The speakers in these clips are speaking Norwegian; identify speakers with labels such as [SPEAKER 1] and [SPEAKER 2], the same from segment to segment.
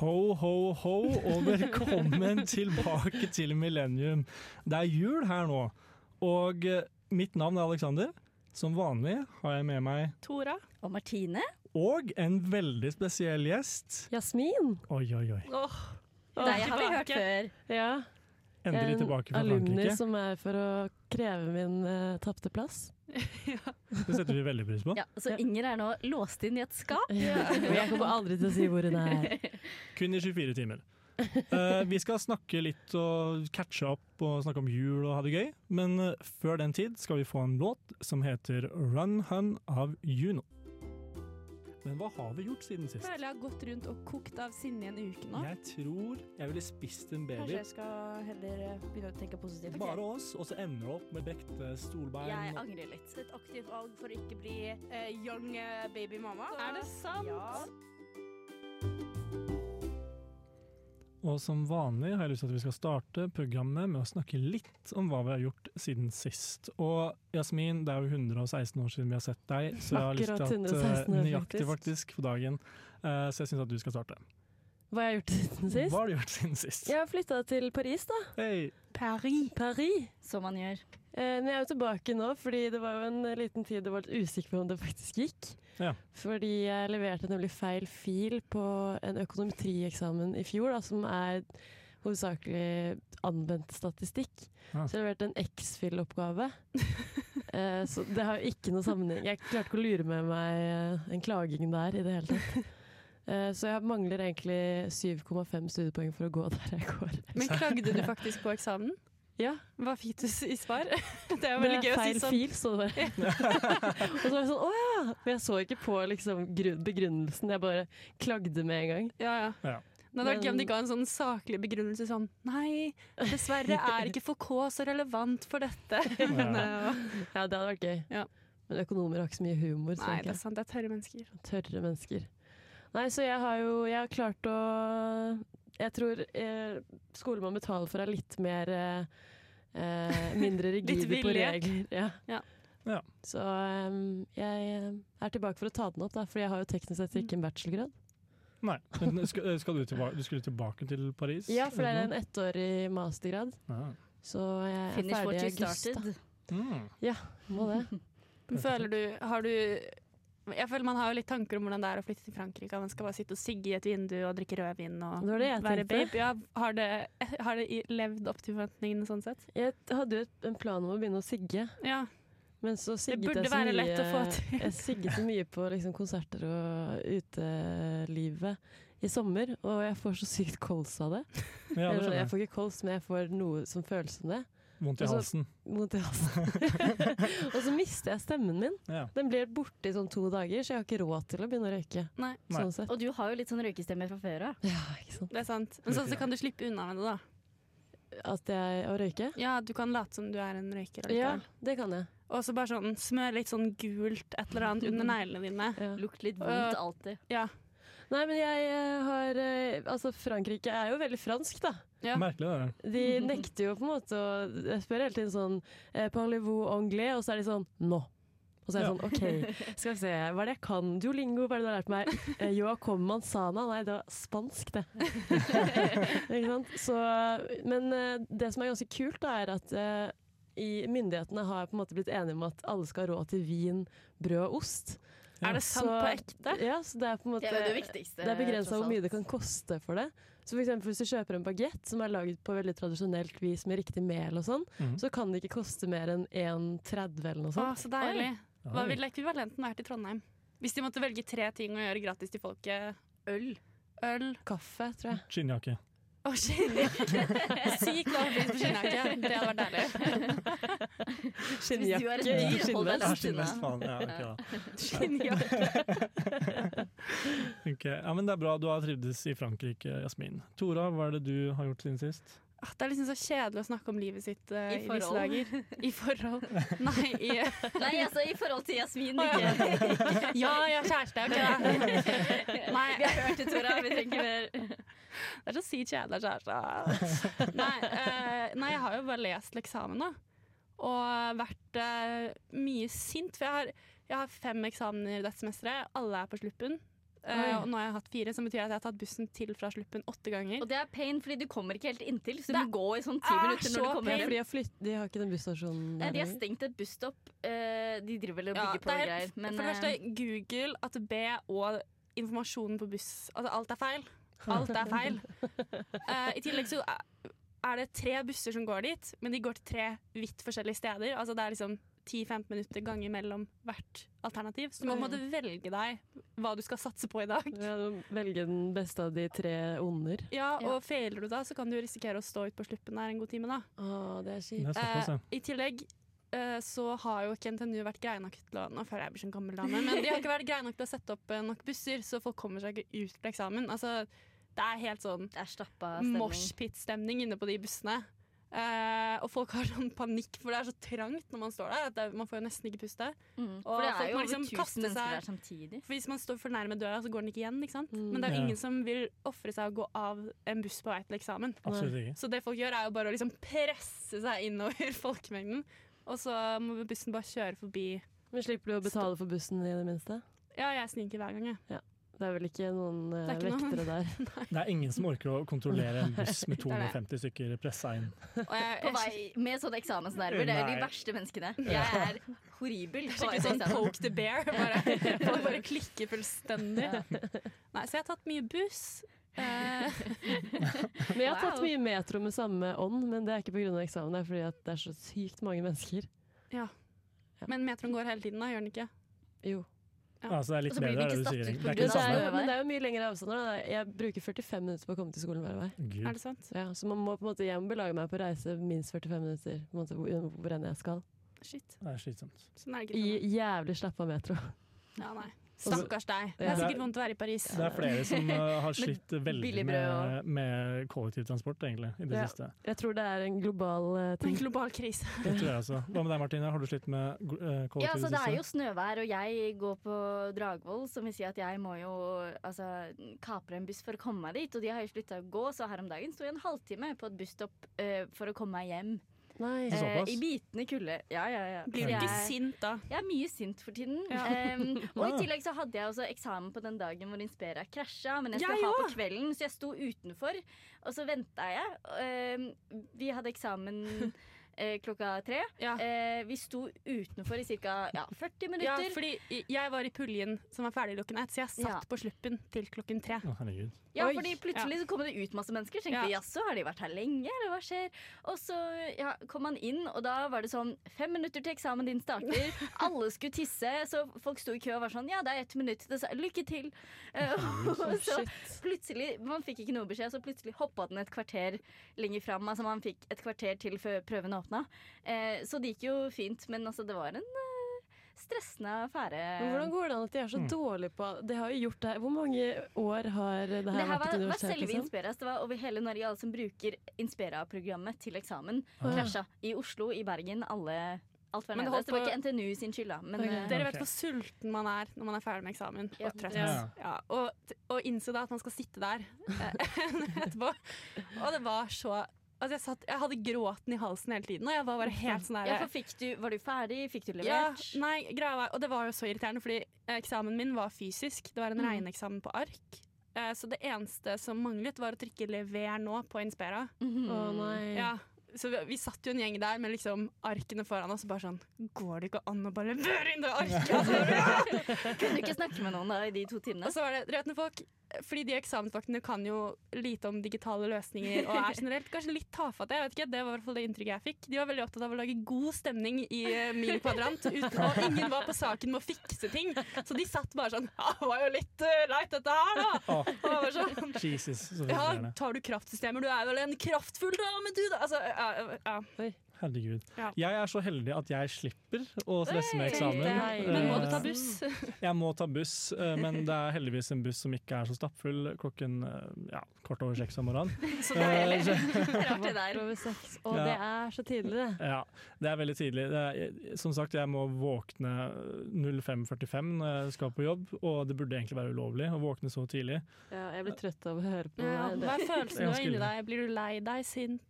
[SPEAKER 1] Ho, ho, ho, og velkommen tilbake til Millennium. Det er jul her nå, og eh, mitt navn er Alexander. Som vanlig har jeg med meg
[SPEAKER 2] Tora.
[SPEAKER 3] Og Martine?
[SPEAKER 1] og en veldig spesiell gjest.
[SPEAKER 4] Jasmin.
[SPEAKER 1] Oi, oi, oi.
[SPEAKER 3] Deg har vi hørt før.
[SPEAKER 4] Ja.
[SPEAKER 1] Endelig tilbake fra
[SPEAKER 4] En alumni
[SPEAKER 1] Frankrike.
[SPEAKER 4] som er for å kreve min uh, tapte plass.
[SPEAKER 1] Det setter vi veldig pris på.
[SPEAKER 3] Ja, så Inger er nå låst inn i et skap.
[SPEAKER 4] Men jeg kommer aldri til å si hvor hun er.
[SPEAKER 1] Kun i 24 timer. Eh, vi skal snakke litt og catche opp og snakke om jul og ha det gøy, men eh, før den tid skal vi få en låt som heter Run Hun av Juno. Men hva har vi gjort siden sist?
[SPEAKER 2] Føler jeg har gått rundt og kokt av sinne i en uke nå.
[SPEAKER 1] Jeg tror jeg ville spist en
[SPEAKER 2] Kanskje
[SPEAKER 1] baby.
[SPEAKER 2] jeg skal heller eh, begynne å tenke positivt.
[SPEAKER 1] Bare oss, og så ender det opp med brekte stolbein.
[SPEAKER 3] Jeg angrer litt.
[SPEAKER 2] Et aktivt valg for å ikke bli Eh, young baby mamma.
[SPEAKER 3] Er det sant?
[SPEAKER 1] Og som vanlig har jeg lyst til at vi skal starte programmet med å snakke litt om hva vi har gjort siden sist. Og Jasmin, det er jo 116 år siden vi har sett deg, så jeg har lyst
[SPEAKER 4] Akkurat
[SPEAKER 1] til at eh,
[SPEAKER 4] 116 år,
[SPEAKER 1] nøyaktig
[SPEAKER 4] faktisk.
[SPEAKER 1] faktisk på dagen. Eh, Så jeg syns at du skal starte.
[SPEAKER 4] Hva har jeg gjort siden
[SPEAKER 1] Hva
[SPEAKER 4] sist?
[SPEAKER 1] har du gjort siden sist?
[SPEAKER 4] Jeg har flytta til Paris, da.
[SPEAKER 1] Hei!
[SPEAKER 2] Paris.
[SPEAKER 4] Paris.
[SPEAKER 3] Som man gjør.
[SPEAKER 4] Eh, men jeg er jo tilbake nå, fordi det var jo en eh, liten tid det var litt usikker på om det faktisk gikk.
[SPEAKER 1] Ja.
[SPEAKER 4] Fordi jeg leverte nemlig feil fil på en økonometrieksamen i fjor, da, som er hovedsakelig anvendt statistikk.
[SPEAKER 1] Ja.
[SPEAKER 4] Så jeg leverte en X-fil-oppgave. eh, så det har jo ikke noe sammenheng. Jeg klarte ikke å lure med meg eh, en klaging der i det hele tatt. Eh, Så jeg mangler egentlig 7,5 studiepoeng for å gå der jeg går.
[SPEAKER 2] Men klagde du faktisk på eksamen?
[SPEAKER 4] Ja,
[SPEAKER 2] Hva fikk du i svar? Det er jo
[SPEAKER 4] Det
[SPEAKER 2] veldig
[SPEAKER 4] er
[SPEAKER 2] gøy å si
[SPEAKER 4] feil
[SPEAKER 2] sånn.
[SPEAKER 4] fil, så det bare. og så var jeg sånn, å ja! Men jeg så ikke på liksom, grunn- begrunnelsen, jeg bare klagde med en gang.
[SPEAKER 2] Ja, ja.
[SPEAKER 1] Ja.
[SPEAKER 2] Nå hadde det vært gøy om de
[SPEAKER 4] Men-
[SPEAKER 2] ga en sånn saklig begrunnelse sånn Nei, dessverre er ikke FK så relevant for dette. Men, eh,
[SPEAKER 4] Ja, det hadde vært gøy.
[SPEAKER 2] Ja.
[SPEAKER 4] Men økonomer har ikke så mye humor, så
[SPEAKER 2] nei, det
[SPEAKER 4] det
[SPEAKER 2] er sant. Det er tørre mennesker.
[SPEAKER 4] er tørre mennesker. Nei, så jeg har jo jeg har klart å Jeg tror eh, skolen må betale for deg litt mer eh, eh, Mindre rigide på
[SPEAKER 2] vilje.
[SPEAKER 4] regler. Ja.
[SPEAKER 2] Ja.
[SPEAKER 1] Ja.
[SPEAKER 4] Så em, jeg eh, er tilbake for å ta den opp, da, for jeg har jo teknisk sett ikke en bachelorgrad.
[SPEAKER 1] Nei. Men eh, skal, skal du, tilbake, du skulle tilbake til Paris?
[SPEAKER 4] Ja, for det er
[SPEAKER 1] eller
[SPEAKER 4] en ettårig mastergrad.
[SPEAKER 1] noe?
[SPEAKER 4] Så jeg er
[SPEAKER 3] Finish
[SPEAKER 4] ferdig
[SPEAKER 3] what
[SPEAKER 4] i
[SPEAKER 3] you
[SPEAKER 4] august, da.
[SPEAKER 3] started.
[SPEAKER 1] Ja. Mm.
[SPEAKER 4] Må det.
[SPEAKER 2] Føler du Har du Jeg føler man har jo litt tanker om hvordan det er å flytte til Frankrike. at Man skal bare sitte og sigge i et vindu og drikke rødvin og
[SPEAKER 4] Det var det jeg
[SPEAKER 2] være
[SPEAKER 4] tenkte.
[SPEAKER 2] babe. Ja, har det, har det i- levd opp til forventningene sånn sett?
[SPEAKER 4] Jeg hadde jo et- en plan om å begynne å sigge,
[SPEAKER 2] Ja.
[SPEAKER 4] men så sigget
[SPEAKER 2] burde
[SPEAKER 4] jeg så
[SPEAKER 2] være
[SPEAKER 4] mye
[SPEAKER 2] lett å få til.
[SPEAKER 4] Jeg sigget så mye på liksom konserter og utelivet i sommer, og jeg får så sykt kols av det.
[SPEAKER 1] ja, det
[SPEAKER 4] Eller, jeg
[SPEAKER 1] skjønner jeg.
[SPEAKER 4] får ikke kols, men jeg får noe som føles som det.
[SPEAKER 1] Vondt i
[SPEAKER 4] Altså-
[SPEAKER 1] halsen.
[SPEAKER 4] Vondt i halsen. altså. og så mister jeg stemmen min.
[SPEAKER 1] Ja.
[SPEAKER 4] Den blir borte i sånn to dager, så jeg har ikke råd til å begynne å røyke.
[SPEAKER 2] Nei,
[SPEAKER 1] Nei.
[SPEAKER 4] Sånn sett.
[SPEAKER 3] Og du har jo litt sånn røykestemme fra før av.
[SPEAKER 4] Ja, Ah, ikke sant.
[SPEAKER 2] det er sant. Men sånn så kan du slippe unna med det, da.
[SPEAKER 4] At jeg Å røyke?
[SPEAKER 2] Ja, du kan late som du er en røyker.
[SPEAKER 4] Ja,
[SPEAKER 2] allikevel.
[SPEAKER 4] det kan jeg.
[SPEAKER 2] Og så bare sånn smør litt sånn gult et eller annet under neglene dine.
[SPEAKER 4] Ja.
[SPEAKER 3] Lukt litt vondt alltid.
[SPEAKER 2] Ja.
[SPEAKER 4] Nei, men jeg eh, har eh, Altså, Frankrike er jo veldig fransk, da.
[SPEAKER 2] Ja.
[SPEAKER 1] Merkelig, det der.
[SPEAKER 4] De nekter jo på en måte å Jeg spør hele tiden sånn eh, Parlez-vous anglais? Og så er de sånn No. Og så er jeg
[SPEAKER 1] Ja.
[SPEAKER 4] sånn OK, skal vi se. Hva er det jeg kan? Duolingo, hva er det du har lært meg? Eh, Joacom Manzana? Nei, det var spansk, det. Ikke sant? Så Men eh, det som er ganske kult, da, er at eh, i myndighetene har på en måte blitt enige om at alle skal ha råd til vin, brød og ost.
[SPEAKER 1] Ja.
[SPEAKER 2] Er det sant
[SPEAKER 4] Så-
[SPEAKER 2] på ekte?
[SPEAKER 4] Ja, så det er på en måte
[SPEAKER 3] Det er jo det viktigste.
[SPEAKER 4] det er begrensa
[SPEAKER 3] tross
[SPEAKER 4] hvor mye det
[SPEAKER 3] alt.
[SPEAKER 4] kan koste for det. Så for eksempel Hvis du kjøper en bagett som er laget på veldig tradisjonelt vis med riktig mel, og sånn,
[SPEAKER 1] Mhm.
[SPEAKER 4] så kan det ikke koste mer enn 1,30 eller noe
[SPEAKER 2] Å, så
[SPEAKER 4] sånt.
[SPEAKER 2] deilig. Hva
[SPEAKER 1] Oi.
[SPEAKER 2] ville ekvivalenten vært i Trondheim? Hvis de måtte velge tre ting å gjøre gratis til folket. Øl. Øl.
[SPEAKER 4] Kaffe, tror jeg.
[SPEAKER 1] Skinnjakke.
[SPEAKER 2] Å, skinnjakke. Sykt lav pris på skinnjakke. Det hadde vært deilig.
[SPEAKER 3] Hvis du er et dyr, hold deg
[SPEAKER 1] Ja,
[SPEAKER 3] langt unna.
[SPEAKER 1] skinnvest, faen. Ja, ok, da.
[SPEAKER 2] Skinnjakke.
[SPEAKER 1] Ok, ja, men Det er bra du har trivdes i Frankrike, Jasmin. Tora, hva er det du har gjort siden sist?
[SPEAKER 2] Ah, Det er liksom så kjedelig å snakke om livet sitt eh,
[SPEAKER 3] I
[SPEAKER 2] i, disse
[SPEAKER 3] forhold.
[SPEAKER 2] dager. I forhold. Nei, i
[SPEAKER 3] Nei, altså i forhold til Jasmin,
[SPEAKER 2] Å, ja.
[SPEAKER 3] ikke.
[SPEAKER 2] Ja, jeg har kjæreste, ok da. Nei,
[SPEAKER 3] Vi har hørt det, Tora. Vi trenger ikke mer.
[SPEAKER 2] det er så sykt kjedelig å ha kjæreste. Nei, eh, nei, jeg har jo bare lest til eksamen, da. Og vært eh, mye sint, for jeg har, jeg har fem eksamener dette semesteret. Alle er på sluppen. Eh,
[SPEAKER 4] Oi.
[SPEAKER 2] og nå har jeg hatt fire, som betyr at jeg har tatt bussen til fra Sluppen åtte ganger.
[SPEAKER 3] Og det er pain, fordi du kommer ikke helt inntil, så du
[SPEAKER 2] Det
[SPEAKER 3] må gå i sånn ti
[SPEAKER 2] er
[SPEAKER 3] minutter
[SPEAKER 2] så
[SPEAKER 3] når du kommer
[SPEAKER 4] Ja, for
[SPEAKER 3] hjem.
[SPEAKER 4] de har, flytt, de har ikke den busstasjonen
[SPEAKER 3] Nei, De
[SPEAKER 4] der
[SPEAKER 3] har
[SPEAKER 1] Mm.
[SPEAKER 4] lenger.
[SPEAKER 3] stengt et busstopp. eh, De driver vel og
[SPEAKER 2] Ja,
[SPEAKER 3] bygger på
[SPEAKER 2] det er-
[SPEAKER 3] greier. Men
[SPEAKER 2] For det
[SPEAKER 3] eh,
[SPEAKER 2] første, Google, AtB og informasjonen på buss Altså, alt er feil. Alt er feil. Eh, I tillegg så er det tre busser som går dit, men de går til tre vidt forskjellige steder. Altså, det er liksom 10-15 minutter ganger mellom hvert alternativ. Så du må på en
[SPEAKER 3] Mm.
[SPEAKER 2] måte velge deg hva du skal satse på i dag.
[SPEAKER 4] Ja, du må velge den beste av de tre onder.
[SPEAKER 2] Ja,
[SPEAKER 3] Ja.
[SPEAKER 2] og feiler du da, så kan du risikere å stå ut på sluppen der en god time, da.
[SPEAKER 4] Å, det er
[SPEAKER 1] Det
[SPEAKER 4] kjipt.
[SPEAKER 1] er såpass, ja.
[SPEAKER 2] Eh, I tillegg eh, så har jo ikke NTNU vært greie nok til å Nå føler jeg jeg blir som gammel dame, men de har ikke vært greie nok til å sette opp eh, nok busser, så folk kommer seg ikke ut til eksamen. Altså, det er helt sånn
[SPEAKER 3] det er stappa stemning.
[SPEAKER 2] moshpit-stemning inne på de bussene. Eh, og folk har sånn panikk, for det er så trangt når man står der. At det, man får jo nesten ikke puste.
[SPEAKER 3] Mm.
[SPEAKER 2] Og
[SPEAKER 3] For det
[SPEAKER 2] folk
[SPEAKER 3] er
[SPEAKER 2] må
[SPEAKER 3] jo over
[SPEAKER 2] liksom
[SPEAKER 3] tusen
[SPEAKER 2] kaste
[SPEAKER 3] mennesker
[SPEAKER 2] seg-
[SPEAKER 3] der samtidig.
[SPEAKER 2] For hvis man står for nærme døra, så går den ikke igjen. ikke sant?
[SPEAKER 4] Mm.
[SPEAKER 2] Men det er jo
[SPEAKER 1] Ja.
[SPEAKER 2] ingen som vil ofre seg å gå av en buss på vei til eksamen.
[SPEAKER 1] Absolutt ikke.
[SPEAKER 2] Så det folk gjør er jo bare å liksom presse seg innover folkemengden. Og så må bussen bare kjøre forbi.
[SPEAKER 4] Men slipper du å betale for bussen i det minste?
[SPEAKER 2] Ja, jeg sniker hver gang, jeg.
[SPEAKER 4] Det er vel ikke noen eh,
[SPEAKER 2] Det er ikke noe-
[SPEAKER 4] vektere der.
[SPEAKER 1] Det er ingen som orker å kontrollere en buss med
[SPEAKER 2] Det er det.
[SPEAKER 1] 250 stykker pressa inn.
[SPEAKER 2] Og jeg,
[SPEAKER 3] På vei med sånne eksamensnerver. Det er jo de
[SPEAKER 1] Nei.
[SPEAKER 3] verste menneskene. Jeg er horribel.
[SPEAKER 2] jeg
[SPEAKER 3] på vei
[SPEAKER 2] Skikkelig
[SPEAKER 3] til
[SPEAKER 2] sånn
[SPEAKER 3] eksamen.
[SPEAKER 2] poke the bear. Bare, folk bare klikker fullstendig. Nei, så jeg har tatt mye buss. Eh,
[SPEAKER 4] Men jeg har tatt
[SPEAKER 3] Wow.
[SPEAKER 4] mye metro med samme ånd, men det er ikke pga. eksamen. Det er fordi at det er så sykt mange mennesker.
[SPEAKER 2] men metroen går hele tiden, da, gjør den ikke?
[SPEAKER 4] Jo.
[SPEAKER 2] Ja.
[SPEAKER 1] Altså, det er
[SPEAKER 3] Og
[SPEAKER 1] litt
[SPEAKER 3] så blir
[SPEAKER 1] bedre,
[SPEAKER 3] de
[SPEAKER 1] er det
[SPEAKER 3] ikke
[SPEAKER 1] du sier.
[SPEAKER 3] satt
[SPEAKER 1] Det er ikke
[SPEAKER 3] ut på grunn
[SPEAKER 4] Men
[SPEAKER 1] det
[SPEAKER 4] det, er
[SPEAKER 1] samme.
[SPEAKER 4] jo, men det er jo mye lengre avstander. da. Jeg bruker 45 minutter på å komme til skolen hver vei.
[SPEAKER 2] Er
[SPEAKER 1] Gud.
[SPEAKER 2] det sant?
[SPEAKER 4] Ja, så man må på en måte, jeg må belage meg på å reise minst 45 minutter på en måte, hvor, hvor enn jeg skal.
[SPEAKER 2] Shit.
[SPEAKER 1] Det er slitsomt.
[SPEAKER 2] Sånn er det
[SPEAKER 4] I
[SPEAKER 2] ikke.
[SPEAKER 4] jævlig slappa metro.
[SPEAKER 2] for meg. Ja, nei. Stakkars deg. Det
[SPEAKER 4] Ja.
[SPEAKER 2] er sikkert vondt å være i Paris.
[SPEAKER 1] Det er flere som eh, har
[SPEAKER 3] Men
[SPEAKER 1] slitt veldig
[SPEAKER 3] billig brød
[SPEAKER 1] med, med kollektivtransport, egentlig, i det
[SPEAKER 4] Ja.
[SPEAKER 1] siste.
[SPEAKER 4] Jeg tror det er en global eh,
[SPEAKER 2] En
[SPEAKER 4] ting.
[SPEAKER 2] global krise.
[SPEAKER 1] Det tror jeg også. Hva med deg, Martine? Har du slitt med gl- eh, kollektiv
[SPEAKER 3] Ja, altså Det er
[SPEAKER 1] siste?
[SPEAKER 3] jo snøvær, og jeg går på Dragvoll, som vil si at jeg må jo altså, kapre en buss for å komme meg dit. Og de har jo slutta å gå, så her om dagen sto jeg en halvtime på et busstopp eh, for å komme meg hjem.
[SPEAKER 4] Nei.
[SPEAKER 1] Så
[SPEAKER 3] Eh,
[SPEAKER 1] såpass?
[SPEAKER 3] I bitende kulde. Ja, ja, ja.
[SPEAKER 2] Blir du
[SPEAKER 3] Jeg-
[SPEAKER 2] ikke sint da?
[SPEAKER 3] Jeg er mye sint for tiden.
[SPEAKER 2] Ja.
[SPEAKER 3] Em, og i
[SPEAKER 1] Ah.
[SPEAKER 3] tillegg så hadde jeg også eksamen på den dagen hvor Inspera krasja. Men jeg
[SPEAKER 2] Jeg
[SPEAKER 3] skulle ha på kvelden, så jeg sto utenfor, og så venta jeg. Em, vi hadde eksamen eh, klokka tre.
[SPEAKER 2] Ja.
[SPEAKER 3] Eh, vi sto utenfor i ca. Ja, 40
[SPEAKER 2] Ja,
[SPEAKER 3] minutter.
[SPEAKER 2] fordi jeg var i puljen som var ferdig klokken ett, så jeg satt
[SPEAKER 3] Ja.
[SPEAKER 2] på sluppen til klokken tre.
[SPEAKER 1] Å, herregud.
[SPEAKER 3] Ja,
[SPEAKER 4] Oi.
[SPEAKER 3] fordi plutselig så kom det ut masse mennesker. Så tenkte
[SPEAKER 2] Ja.
[SPEAKER 3] jeg, jaså, har de vært her lenge, eller hva skjer? Og så ja, kom man inn, og da var det sånn fem minutter til eksamen din starter. Alle skulle tisse, så folk sto i kø og var sånn ja, det er ett minutt til det, sa jeg, lykke til. Eh, og så
[SPEAKER 4] Shit.
[SPEAKER 3] plutselig, man fikk ikke noe beskjed, så plutselig hoppa den et kvarter lenger fram. Altså man fikk et kvarter til før prøven åpna. Eh, så det gikk jo fint, men altså det var en eh, stressende affære.
[SPEAKER 4] Men hvordan går det an at de er så
[SPEAKER 1] Mm.
[SPEAKER 4] dårlige på det? har jo gjort det her. Hvor mange år har det her,
[SPEAKER 3] Det her
[SPEAKER 4] vært
[SPEAKER 3] var,
[SPEAKER 4] et
[SPEAKER 3] var
[SPEAKER 4] universitet?
[SPEAKER 3] selve
[SPEAKER 4] Liksom?
[SPEAKER 3] Inspiras. Det var over hele Norge. Alle som bruker Inspira-programmet til eksamen,
[SPEAKER 4] Ah.
[SPEAKER 3] krasja. I Oslo, i Bergen, alle Alt var
[SPEAKER 2] Men det
[SPEAKER 3] nede.
[SPEAKER 2] holdt
[SPEAKER 3] Så det var
[SPEAKER 2] på-
[SPEAKER 3] ikke NTNU sin skyld, da. Men
[SPEAKER 4] Ok.
[SPEAKER 3] eh,
[SPEAKER 1] Ok.
[SPEAKER 2] Dere vet hvor sulten man er når man er ferdig med eksamen
[SPEAKER 3] Ja.
[SPEAKER 2] og trøtt.
[SPEAKER 1] Ja.
[SPEAKER 2] Ja, og, og innse da at man skal sitte der eh, etterpå. Og det var så altså jeg, satt, jeg hadde gråten i halsen hele tiden, og jeg var bare helt sånn der
[SPEAKER 3] ja, for fikk du Var du ferdig? Fikk du
[SPEAKER 2] Ja,
[SPEAKER 3] levert?
[SPEAKER 2] nei, greia var, og det var jo så irriterende, fordi eh, eksamen min var fysisk. Det var en
[SPEAKER 3] Mm.
[SPEAKER 2] regneeksamen på ark. Eh, Så det eneste som manglet, var å trykke 'lever nå' på Inspera.
[SPEAKER 3] Mhm.
[SPEAKER 4] Å nei.
[SPEAKER 2] Ja, så vi, vi satt jo en gjeng der med liksom arkene foran oss og bare sånn Går det ikke an å bare levere inn det arket? Altså,
[SPEAKER 3] Kunne du ikke snakke med noen da i de to timene?
[SPEAKER 2] og så var det dere vet når folk fordi de eksamensvaktene kan jo lite om digitale løsninger og er generelt kanskje litt tafatte. jeg vet ikke, Det var i hvert fall det inntrykket jeg fikk. De var veldig opptatt av å lage god stemning i eh, min kvadrant. Uten, og ingen var på saken med å fikse ting. Så de satt bare sånn Ja, det var jo litt eh, leit, dette her, da.
[SPEAKER 1] Å,
[SPEAKER 2] Og jeg var sånn,
[SPEAKER 1] Jesus, så
[SPEAKER 2] ja,
[SPEAKER 1] frustrerende.
[SPEAKER 2] tar du kraftsystemer? Du er vel en kraftfull dame, du, da? Altså, ja, ja.
[SPEAKER 1] Herregud.
[SPEAKER 2] Ja.
[SPEAKER 1] Jeg er så heldig at jeg slipper å stresse med
[SPEAKER 3] Hey,
[SPEAKER 1] eksamen.
[SPEAKER 4] Nei.
[SPEAKER 2] Men må
[SPEAKER 1] Eh,
[SPEAKER 2] du ta buss?
[SPEAKER 1] Jeg må ta buss, eh, men det er heldigvis en buss som ikke er så stappfull klokken eh, ja, kort over seks om morgenen.
[SPEAKER 2] Så
[SPEAKER 1] Eh,
[SPEAKER 2] deilig.
[SPEAKER 1] så-
[SPEAKER 3] Rart det der.
[SPEAKER 4] Over seks. Og
[SPEAKER 1] Ja.
[SPEAKER 4] det er så tidlig, det.
[SPEAKER 1] Ja, det er veldig tidlig. Det er, som sagt, jeg må våkne 05.45 når jeg skal på jobb, og det burde egentlig være ulovlig å våkne så tidlig.
[SPEAKER 4] Ja, jeg blir trøtt av å høre på
[SPEAKER 2] Ja,
[SPEAKER 4] det.
[SPEAKER 2] hva er følelsen du har
[SPEAKER 1] Ganske
[SPEAKER 2] inni
[SPEAKER 1] ille.
[SPEAKER 2] deg? Blir du lei deg, sint?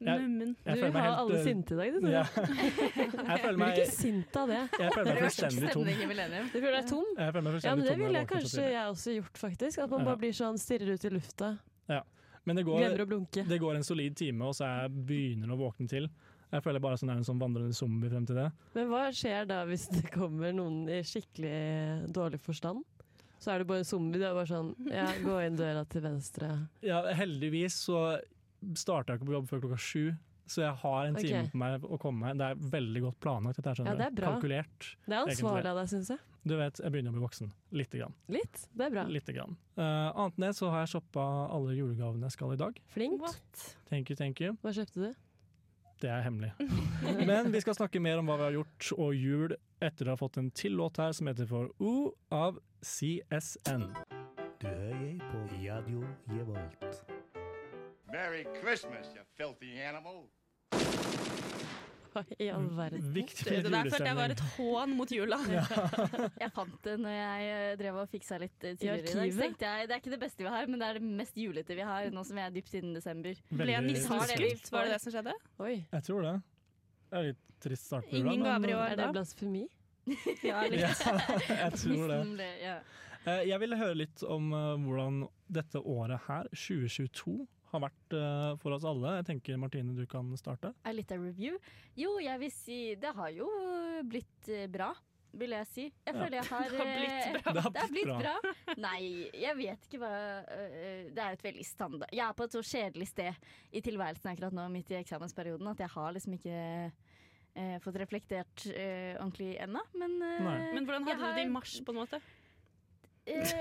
[SPEAKER 1] Ja.
[SPEAKER 2] Mummen.
[SPEAKER 1] Jeg
[SPEAKER 4] Du
[SPEAKER 1] føler meg
[SPEAKER 4] har
[SPEAKER 1] helt,
[SPEAKER 4] alle
[SPEAKER 1] eh,
[SPEAKER 4] sinte i dag, du. Tore.
[SPEAKER 1] Ja. Jeg føler
[SPEAKER 4] Blir
[SPEAKER 1] meg,
[SPEAKER 4] ikke sint av det.
[SPEAKER 1] jeg føler meg
[SPEAKER 3] Det har vært
[SPEAKER 1] fullstendig tom.
[SPEAKER 3] stemning i millennium.
[SPEAKER 4] Du føler deg tom?
[SPEAKER 1] Jeg føler meg
[SPEAKER 4] Ja, men
[SPEAKER 1] fullstendig
[SPEAKER 4] Det
[SPEAKER 1] tom når
[SPEAKER 4] ville
[SPEAKER 1] jeg
[SPEAKER 4] jeg
[SPEAKER 1] våkner så
[SPEAKER 4] kanskje
[SPEAKER 1] tidlig.
[SPEAKER 4] jeg også gjort, faktisk. At man
[SPEAKER 1] Ja.
[SPEAKER 4] bare blir sånn stirrer ut i lufta.
[SPEAKER 1] Men det går,
[SPEAKER 4] Glemmer å blunke.
[SPEAKER 1] det går en solid time, og så er jeg begynner å våkne til. Jeg føler bare sånn er en sånn vandrende zombie frem til det.
[SPEAKER 4] Men hva skjer da hvis det kommer noen i skikkelig dårlig forstand? Så er du bare en zombie. Du er bare sånn ja, gå inn døra til venstre.
[SPEAKER 1] Ja, heldigvis så starter jeg ikke på jobb før klokka sju, så jeg har en time
[SPEAKER 4] Ok.
[SPEAKER 1] på meg å komme meg. Det er veldig godt planlagt. Dette, her, skjønner
[SPEAKER 4] Ja, det er
[SPEAKER 1] du.
[SPEAKER 4] bra.
[SPEAKER 1] Kalkulert.
[SPEAKER 4] Det er
[SPEAKER 1] Egentlig.
[SPEAKER 4] ansvarlig av deg, syns jeg.
[SPEAKER 1] Du vet, jeg begynner å bli voksen. Lite grann.
[SPEAKER 4] Litt. Det er bra.
[SPEAKER 1] Lite grann. Eh, annet enn det så har jeg shoppa alle julegavene jeg skal i dag.
[SPEAKER 4] Flink.
[SPEAKER 1] Thank you, thank you.
[SPEAKER 4] Hva kjøpte du?
[SPEAKER 1] Det er hemmelig. Men vi skal snakke mer om hva vi har gjort og jul etter å ha fått en til låt her som heter For O av CSN.
[SPEAKER 5] Du hører på Radio Revolt.
[SPEAKER 6] Merry Christmas, you filthy animal.
[SPEAKER 4] Hva i all
[SPEAKER 1] Mm,
[SPEAKER 4] verden?
[SPEAKER 1] Viktig
[SPEAKER 2] Det
[SPEAKER 1] for litt
[SPEAKER 2] der følte jeg var
[SPEAKER 1] julestemning.
[SPEAKER 2] et hån mot jula.
[SPEAKER 3] Jeg fant det når jeg eh, drev og fiksa litt eh, tidligere i dag.
[SPEAKER 4] arkivet?
[SPEAKER 3] Så tenkte jeg, Det er ikke det beste vi har, men det er det mest julete vi har, nå som vi er dypt inne i desember.
[SPEAKER 2] Ble
[SPEAKER 1] Veldig
[SPEAKER 2] nissen
[SPEAKER 3] Har dere-
[SPEAKER 1] spesielt.
[SPEAKER 2] skutt? Var det det som skjedde?
[SPEAKER 4] Oi,
[SPEAKER 1] Jeg tror det. Det er litt trist start på
[SPEAKER 2] Ingen
[SPEAKER 1] jula, men-
[SPEAKER 2] gaver i år.
[SPEAKER 4] er det blasfemi?
[SPEAKER 2] Ja,
[SPEAKER 1] Ja, jeg tror det.
[SPEAKER 3] Nissen ble- ja.
[SPEAKER 1] Eh, Jeg ville høre litt om eh, hvordan dette året her, 2022, har vært eh, for oss alle. Jeg tenker Martine, du kan starte.
[SPEAKER 3] Er litt av review. Jo, jeg vil si det har jo blitt eh, bra, vil jeg si. Jeg
[SPEAKER 1] Ja.
[SPEAKER 3] føler jeg har
[SPEAKER 2] Det har
[SPEAKER 3] eh,
[SPEAKER 2] blitt bra.
[SPEAKER 1] Det har
[SPEAKER 3] Det er blitt
[SPEAKER 1] bra.
[SPEAKER 3] bra. Nei, jeg vet ikke hva øh, Det er et veldig standard Jeg er på et så kjedelig sted i tilværelsen akkurat nå, midt i eksamensperioden, at jeg har liksom ikke øh, fått reflektert øh, ordentlig ennå. Men, øh,
[SPEAKER 1] Nei.
[SPEAKER 2] Men hvordan
[SPEAKER 3] jeg
[SPEAKER 2] hadde du det i
[SPEAKER 3] har-
[SPEAKER 2] mars, på en måte?
[SPEAKER 3] øh,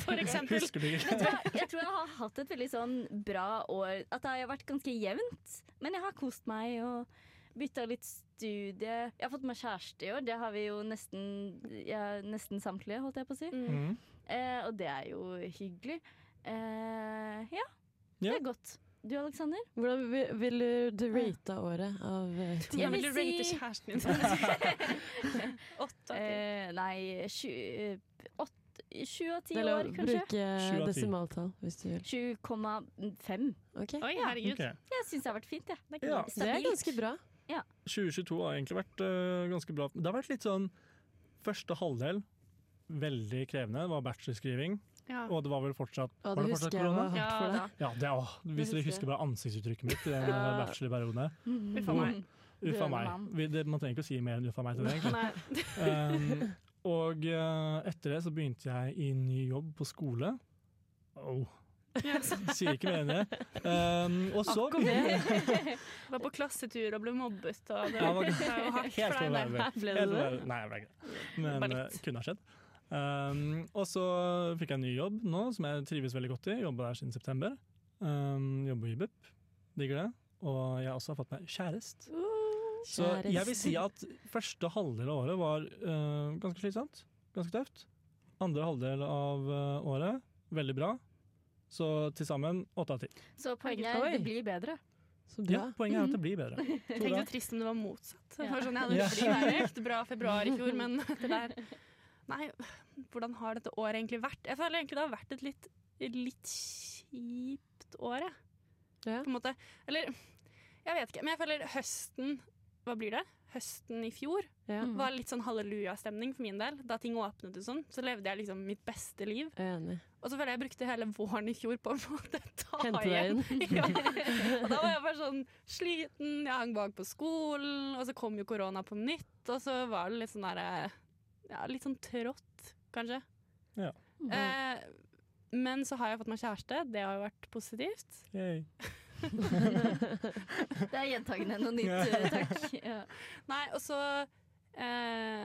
[SPEAKER 2] For eksempel.
[SPEAKER 1] Husker du ikke?
[SPEAKER 3] vet du hva, jeg tror jeg har hatt et veldig sånn bra år. At det har vært ganske jevnt, men jeg har kost meg og bytta litt studie. Jeg har fått meg kjæreste i år, det har vi jo nesten, ja, nesten samtlige, holdt jeg på å si.
[SPEAKER 2] Mm.
[SPEAKER 1] Mm.
[SPEAKER 3] Eh, og det er jo hyggelig. Eh, ja,
[SPEAKER 1] Ja.
[SPEAKER 3] det er godt. Du, Aleksander?
[SPEAKER 4] Hvordan vil- vil du
[SPEAKER 3] Ah.
[SPEAKER 4] rate året av eh, ti?
[SPEAKER 3] Jeg
[SPEAKER 2] Hvordan vil
[SPEAKER 3] vil
[SPEAKER 2] du rate
[SPEAKER 3] si-
[SPEAKER 2] kjæresten din? Åtte av ti.
[SPEAKER 3] Eh, nei, sju, eh, åtte, sju av ti
[SPEAKER 4] Det er lov
[SPEAKER 3] år,
[SPEAKER 4] å
[SPEAKER 3] kanskje.
[SPEAKER 4] bruke
[SPEAKER 1] Sju av ti.
[SPEAKER 4] desimaltall hvis du vil.
[SPEAKER 3] 7,5.
[SPEAKER 4] Ok.
[SPEAKER 2] Oi, herregud.
[SPEAKER 1] Ok.
[SPEAKER 3] Jeg syns det har vært fint, jeg.
[SPEAKER 2] Det er
[SPEAKER 1] Ja.
[SPEAKER 2] ikke
[SPEAKER 4] Det er
[SPEAKER 3] Stabilt.
[SPEAKER 4] ganske bra.
[SPEAKER 1] 2022 har egentlig vært eh, ganske bra. Det har vært litt sånn første halvdel. Veldig krevende. Det var bachelorskriving,
[SPEAKER 2] Ja.
[SPEAKER 1] og det var vel fortsatt
[SPEAKER 4] Å,
[SPEAKER 1] Var
[SPEAKER 4] det
[SPEAKER 1] det fortsatt
[SPEAKER 4] husker jeg var
[SPEAKER 1] korona?
[SPEAKER 4] hardt for
[SPEAKER 2] Ja,
[SPEAKER 4] deg.
[SPEAKER 1] Ja, det, åh, Hvis
[SPEAKER 4] Det
[SPEAKER 1] dere
[SPEAKER 4] husker
[SPEAKER 1] husker bare ansiktsuttrykket mitt i den eh,
[SPEAKER 4] Ja.
[SPEAKER 1] bachelorperioden. her.
[SPEAKER 3] Mm.
[SPEAKER 2] Uff a meg.
[SPEAKER 1] Uff
[SPEAKER 3] Døende
[SPEAKER 1] a meg.
[SPEAKER 3] mann.
[SPEAKER 1] Vi, det, man trenger ikke å si mer enn uff a meg til det, egentlig.
[SPEAKER 2] Nei.
[SPEAKER 1] Um, og eh, etter det så begynte jeg i ny jobb på skole. Oh, sier ikke mer enn det. Um, og så begynte
[SPEAKER 2] Var på klassetur og ble mobbet, og det
[SPEAKER 1] Ja,
[SPEAKER 2] var
[SPEAKER 1] det
[SPEAKER 2] jo hardt
[SPEAKER 1] Helt
[SPEAKER 2] for deg. der.
[SPEAKER 1] forvervet.
[SPEAKER 4] Her ble det
[SPEAKER 1] Helt
[SPEAKER 4] det.
[SPEAKER 1] forvervet. Nei, jeg ble ikke det. Men
[SPEAKER 2] Bare
[SPEAKER 1] eh,
[SPEAKER 2] litt.
[SPEAKER 1] kunne ha skjedd. Um, og så fikk jeg en ny jobb nå, som jeg trives veldig godt i. Jobba der siden september. Um, jobber i BUP. Digger det. Og jeg har også fått meg kjæreste. Så
[SPEAKER 4] Kjæreste.
[SPEAKER 1] jeg vil si at første halvdel av året var eh, ganske slitsomt. Ganske tøft. Andre halvdel av eh, året veldig bra. Så til sammen åtte av ti.
[SPEAKER 3] Så poenget er
[SPEAKER 4] Oi.
[SPEAKER 3] det blir bedre.
[SPEAKER 4] Så bra.
[SPEAKER 1] Ja, poenget er at det blir bedre.
[SPEAKER 2] Tenk
[SPEAKER 1] Tora?
[SPEAKER 2] så trist om det var motsatt. Det
[SPEAKER 3] Ja.
[SPEAKER 2] var sånn, jeg
[SPEAKER 1] Ja.
[SPEAKER 2] hadde ja. gikk det bra i februar i fjor, men det der Nei, hvordan har dette året egentlig vært? Jeg føler egentlig det har vært et litt, litt kjipt år, jeg.
[SPEAKER 4] Ja.
[SPEAKER 2] På en måte. Eller jeg vet ikke. Men jeg føler høsten Hva blir det? Høsten i fjor
[SPEAKER 4] Ja.
[SPEAKER 3] Mm.
[SPEAKER 2] var litt sånn hallelujastemning for min del. Da ting åpnet og sånn, så levde jeg liksom mitt beste liv.
[SPEAKER 4] Jeg er enig.
[SPEAKER 2] Og så føler jeg jeg brukte hele våren i fjor på å på en måte ta
[SPEAKER 4] Hente deg
[SPEAKER 2] igjen.
[SPEAKER 4] inn.
[SPEAKER 2] ja. Og da var jeg bare sånn sliten, jeg hang bak på skolen, og så kom jo korona på nytt, og så var det litt sånn derre Ja, litt sånn trått, kanskje.
[SPEAKER 1] Ja.
[SPEAKER 3] Mm.
[SPEAKER 2] Eh, men så har jeg fått meg kjæreste, det har jo vært positivt.
[SPEAKER 1] Yay.
[SPEAKER 4] Eh,
[SPEAKER 3] Det er gjentagende noe nytt, eh, takk. Ja.
[SPEAKER 2] Nei, og så eh,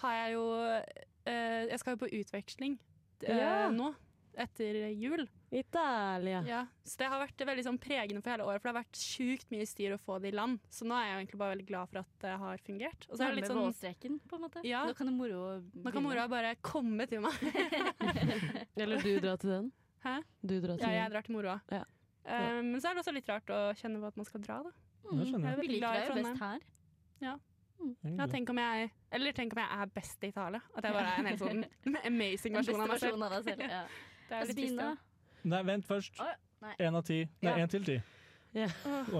[SPEAKER 2] har jeg jo eh, Jeg skal jo på utveksling eh,
[SPEAKER 4] Ja.
[SPEAKER 2] nå, etter jul.
[SPEAKER 4] Italia.
[SPEAKER 2] Ja, så det har vært veldig sånn pregende for hele året, for det har vært sjukt mye styr å få det i land. Så nå er jeg jo egentlig bare veldig glad for at det har fungert. Og så er det
[SPEAKER 3] Nærme
[SPEAKER 2] litt sånn,
[SPEAKER 3] målstreken, på en måte.
[SPEAKER 2] Ja.
[SPEAKER 3] Nå kan det moro
[SPEAKER 2] nå kan mora bare komme til meg.
[SPEAKER 4] Eller du drar til den.
[SPEAKER 2] Hæ?
[SPEAKER 4] Du drar til
[SPEAKER 2] Ja, jeg
[SPEAKER 4] den.
[SPEAKER 2] drar til moroa.
[SPEAKER 4] Mm. Ja.
[SPEAKER 2] Eh, men så er det også litt rart å kjenne på at man skal dra, da.
[SPEAKER 3] Mm.
[SPEAKER 1] Det skjønner
[SPEAKER 2] Jeg er
[SPEAKER 1] jeg.
[SPEAKER 3] Vi
[SPEAKER 2] veldig
[SPEAKER 3] liker
[SPEAKER 2] glad i
[SPEAKER 3] deg jo best
[SPEAKER 2] Trondheim.
[SPEAKER 3] her.
[SPEAKER 2] Ja,
[SPEAKER 1] Mm.
[SPEAKER 2] tenk om jeg, eller tenk om jeg er best i Italia. At jeg bare er en helt sånn amazing
[SPEAKER 3] Den
[SPEAKER 2] versjon
[SPEAKER 3] beste
[SPEAKER 2] av meg selv.
[SPEAKER 3] versjonen av deg selv. Ja.
[SPEAKER 2] Det er litt trist,
[SPEAKER 3] Asbina,
[SPEAKER 2] da.
[SPEAKER 1] Nei, vent først.
[SPEAKER 3] Å, nei.
[SPEAKER 1] Én av ti. Nei,
[SPEAKER 2] Ja.
[SPEAKER 1] én til ti.
[SPEAKER 4] Ja.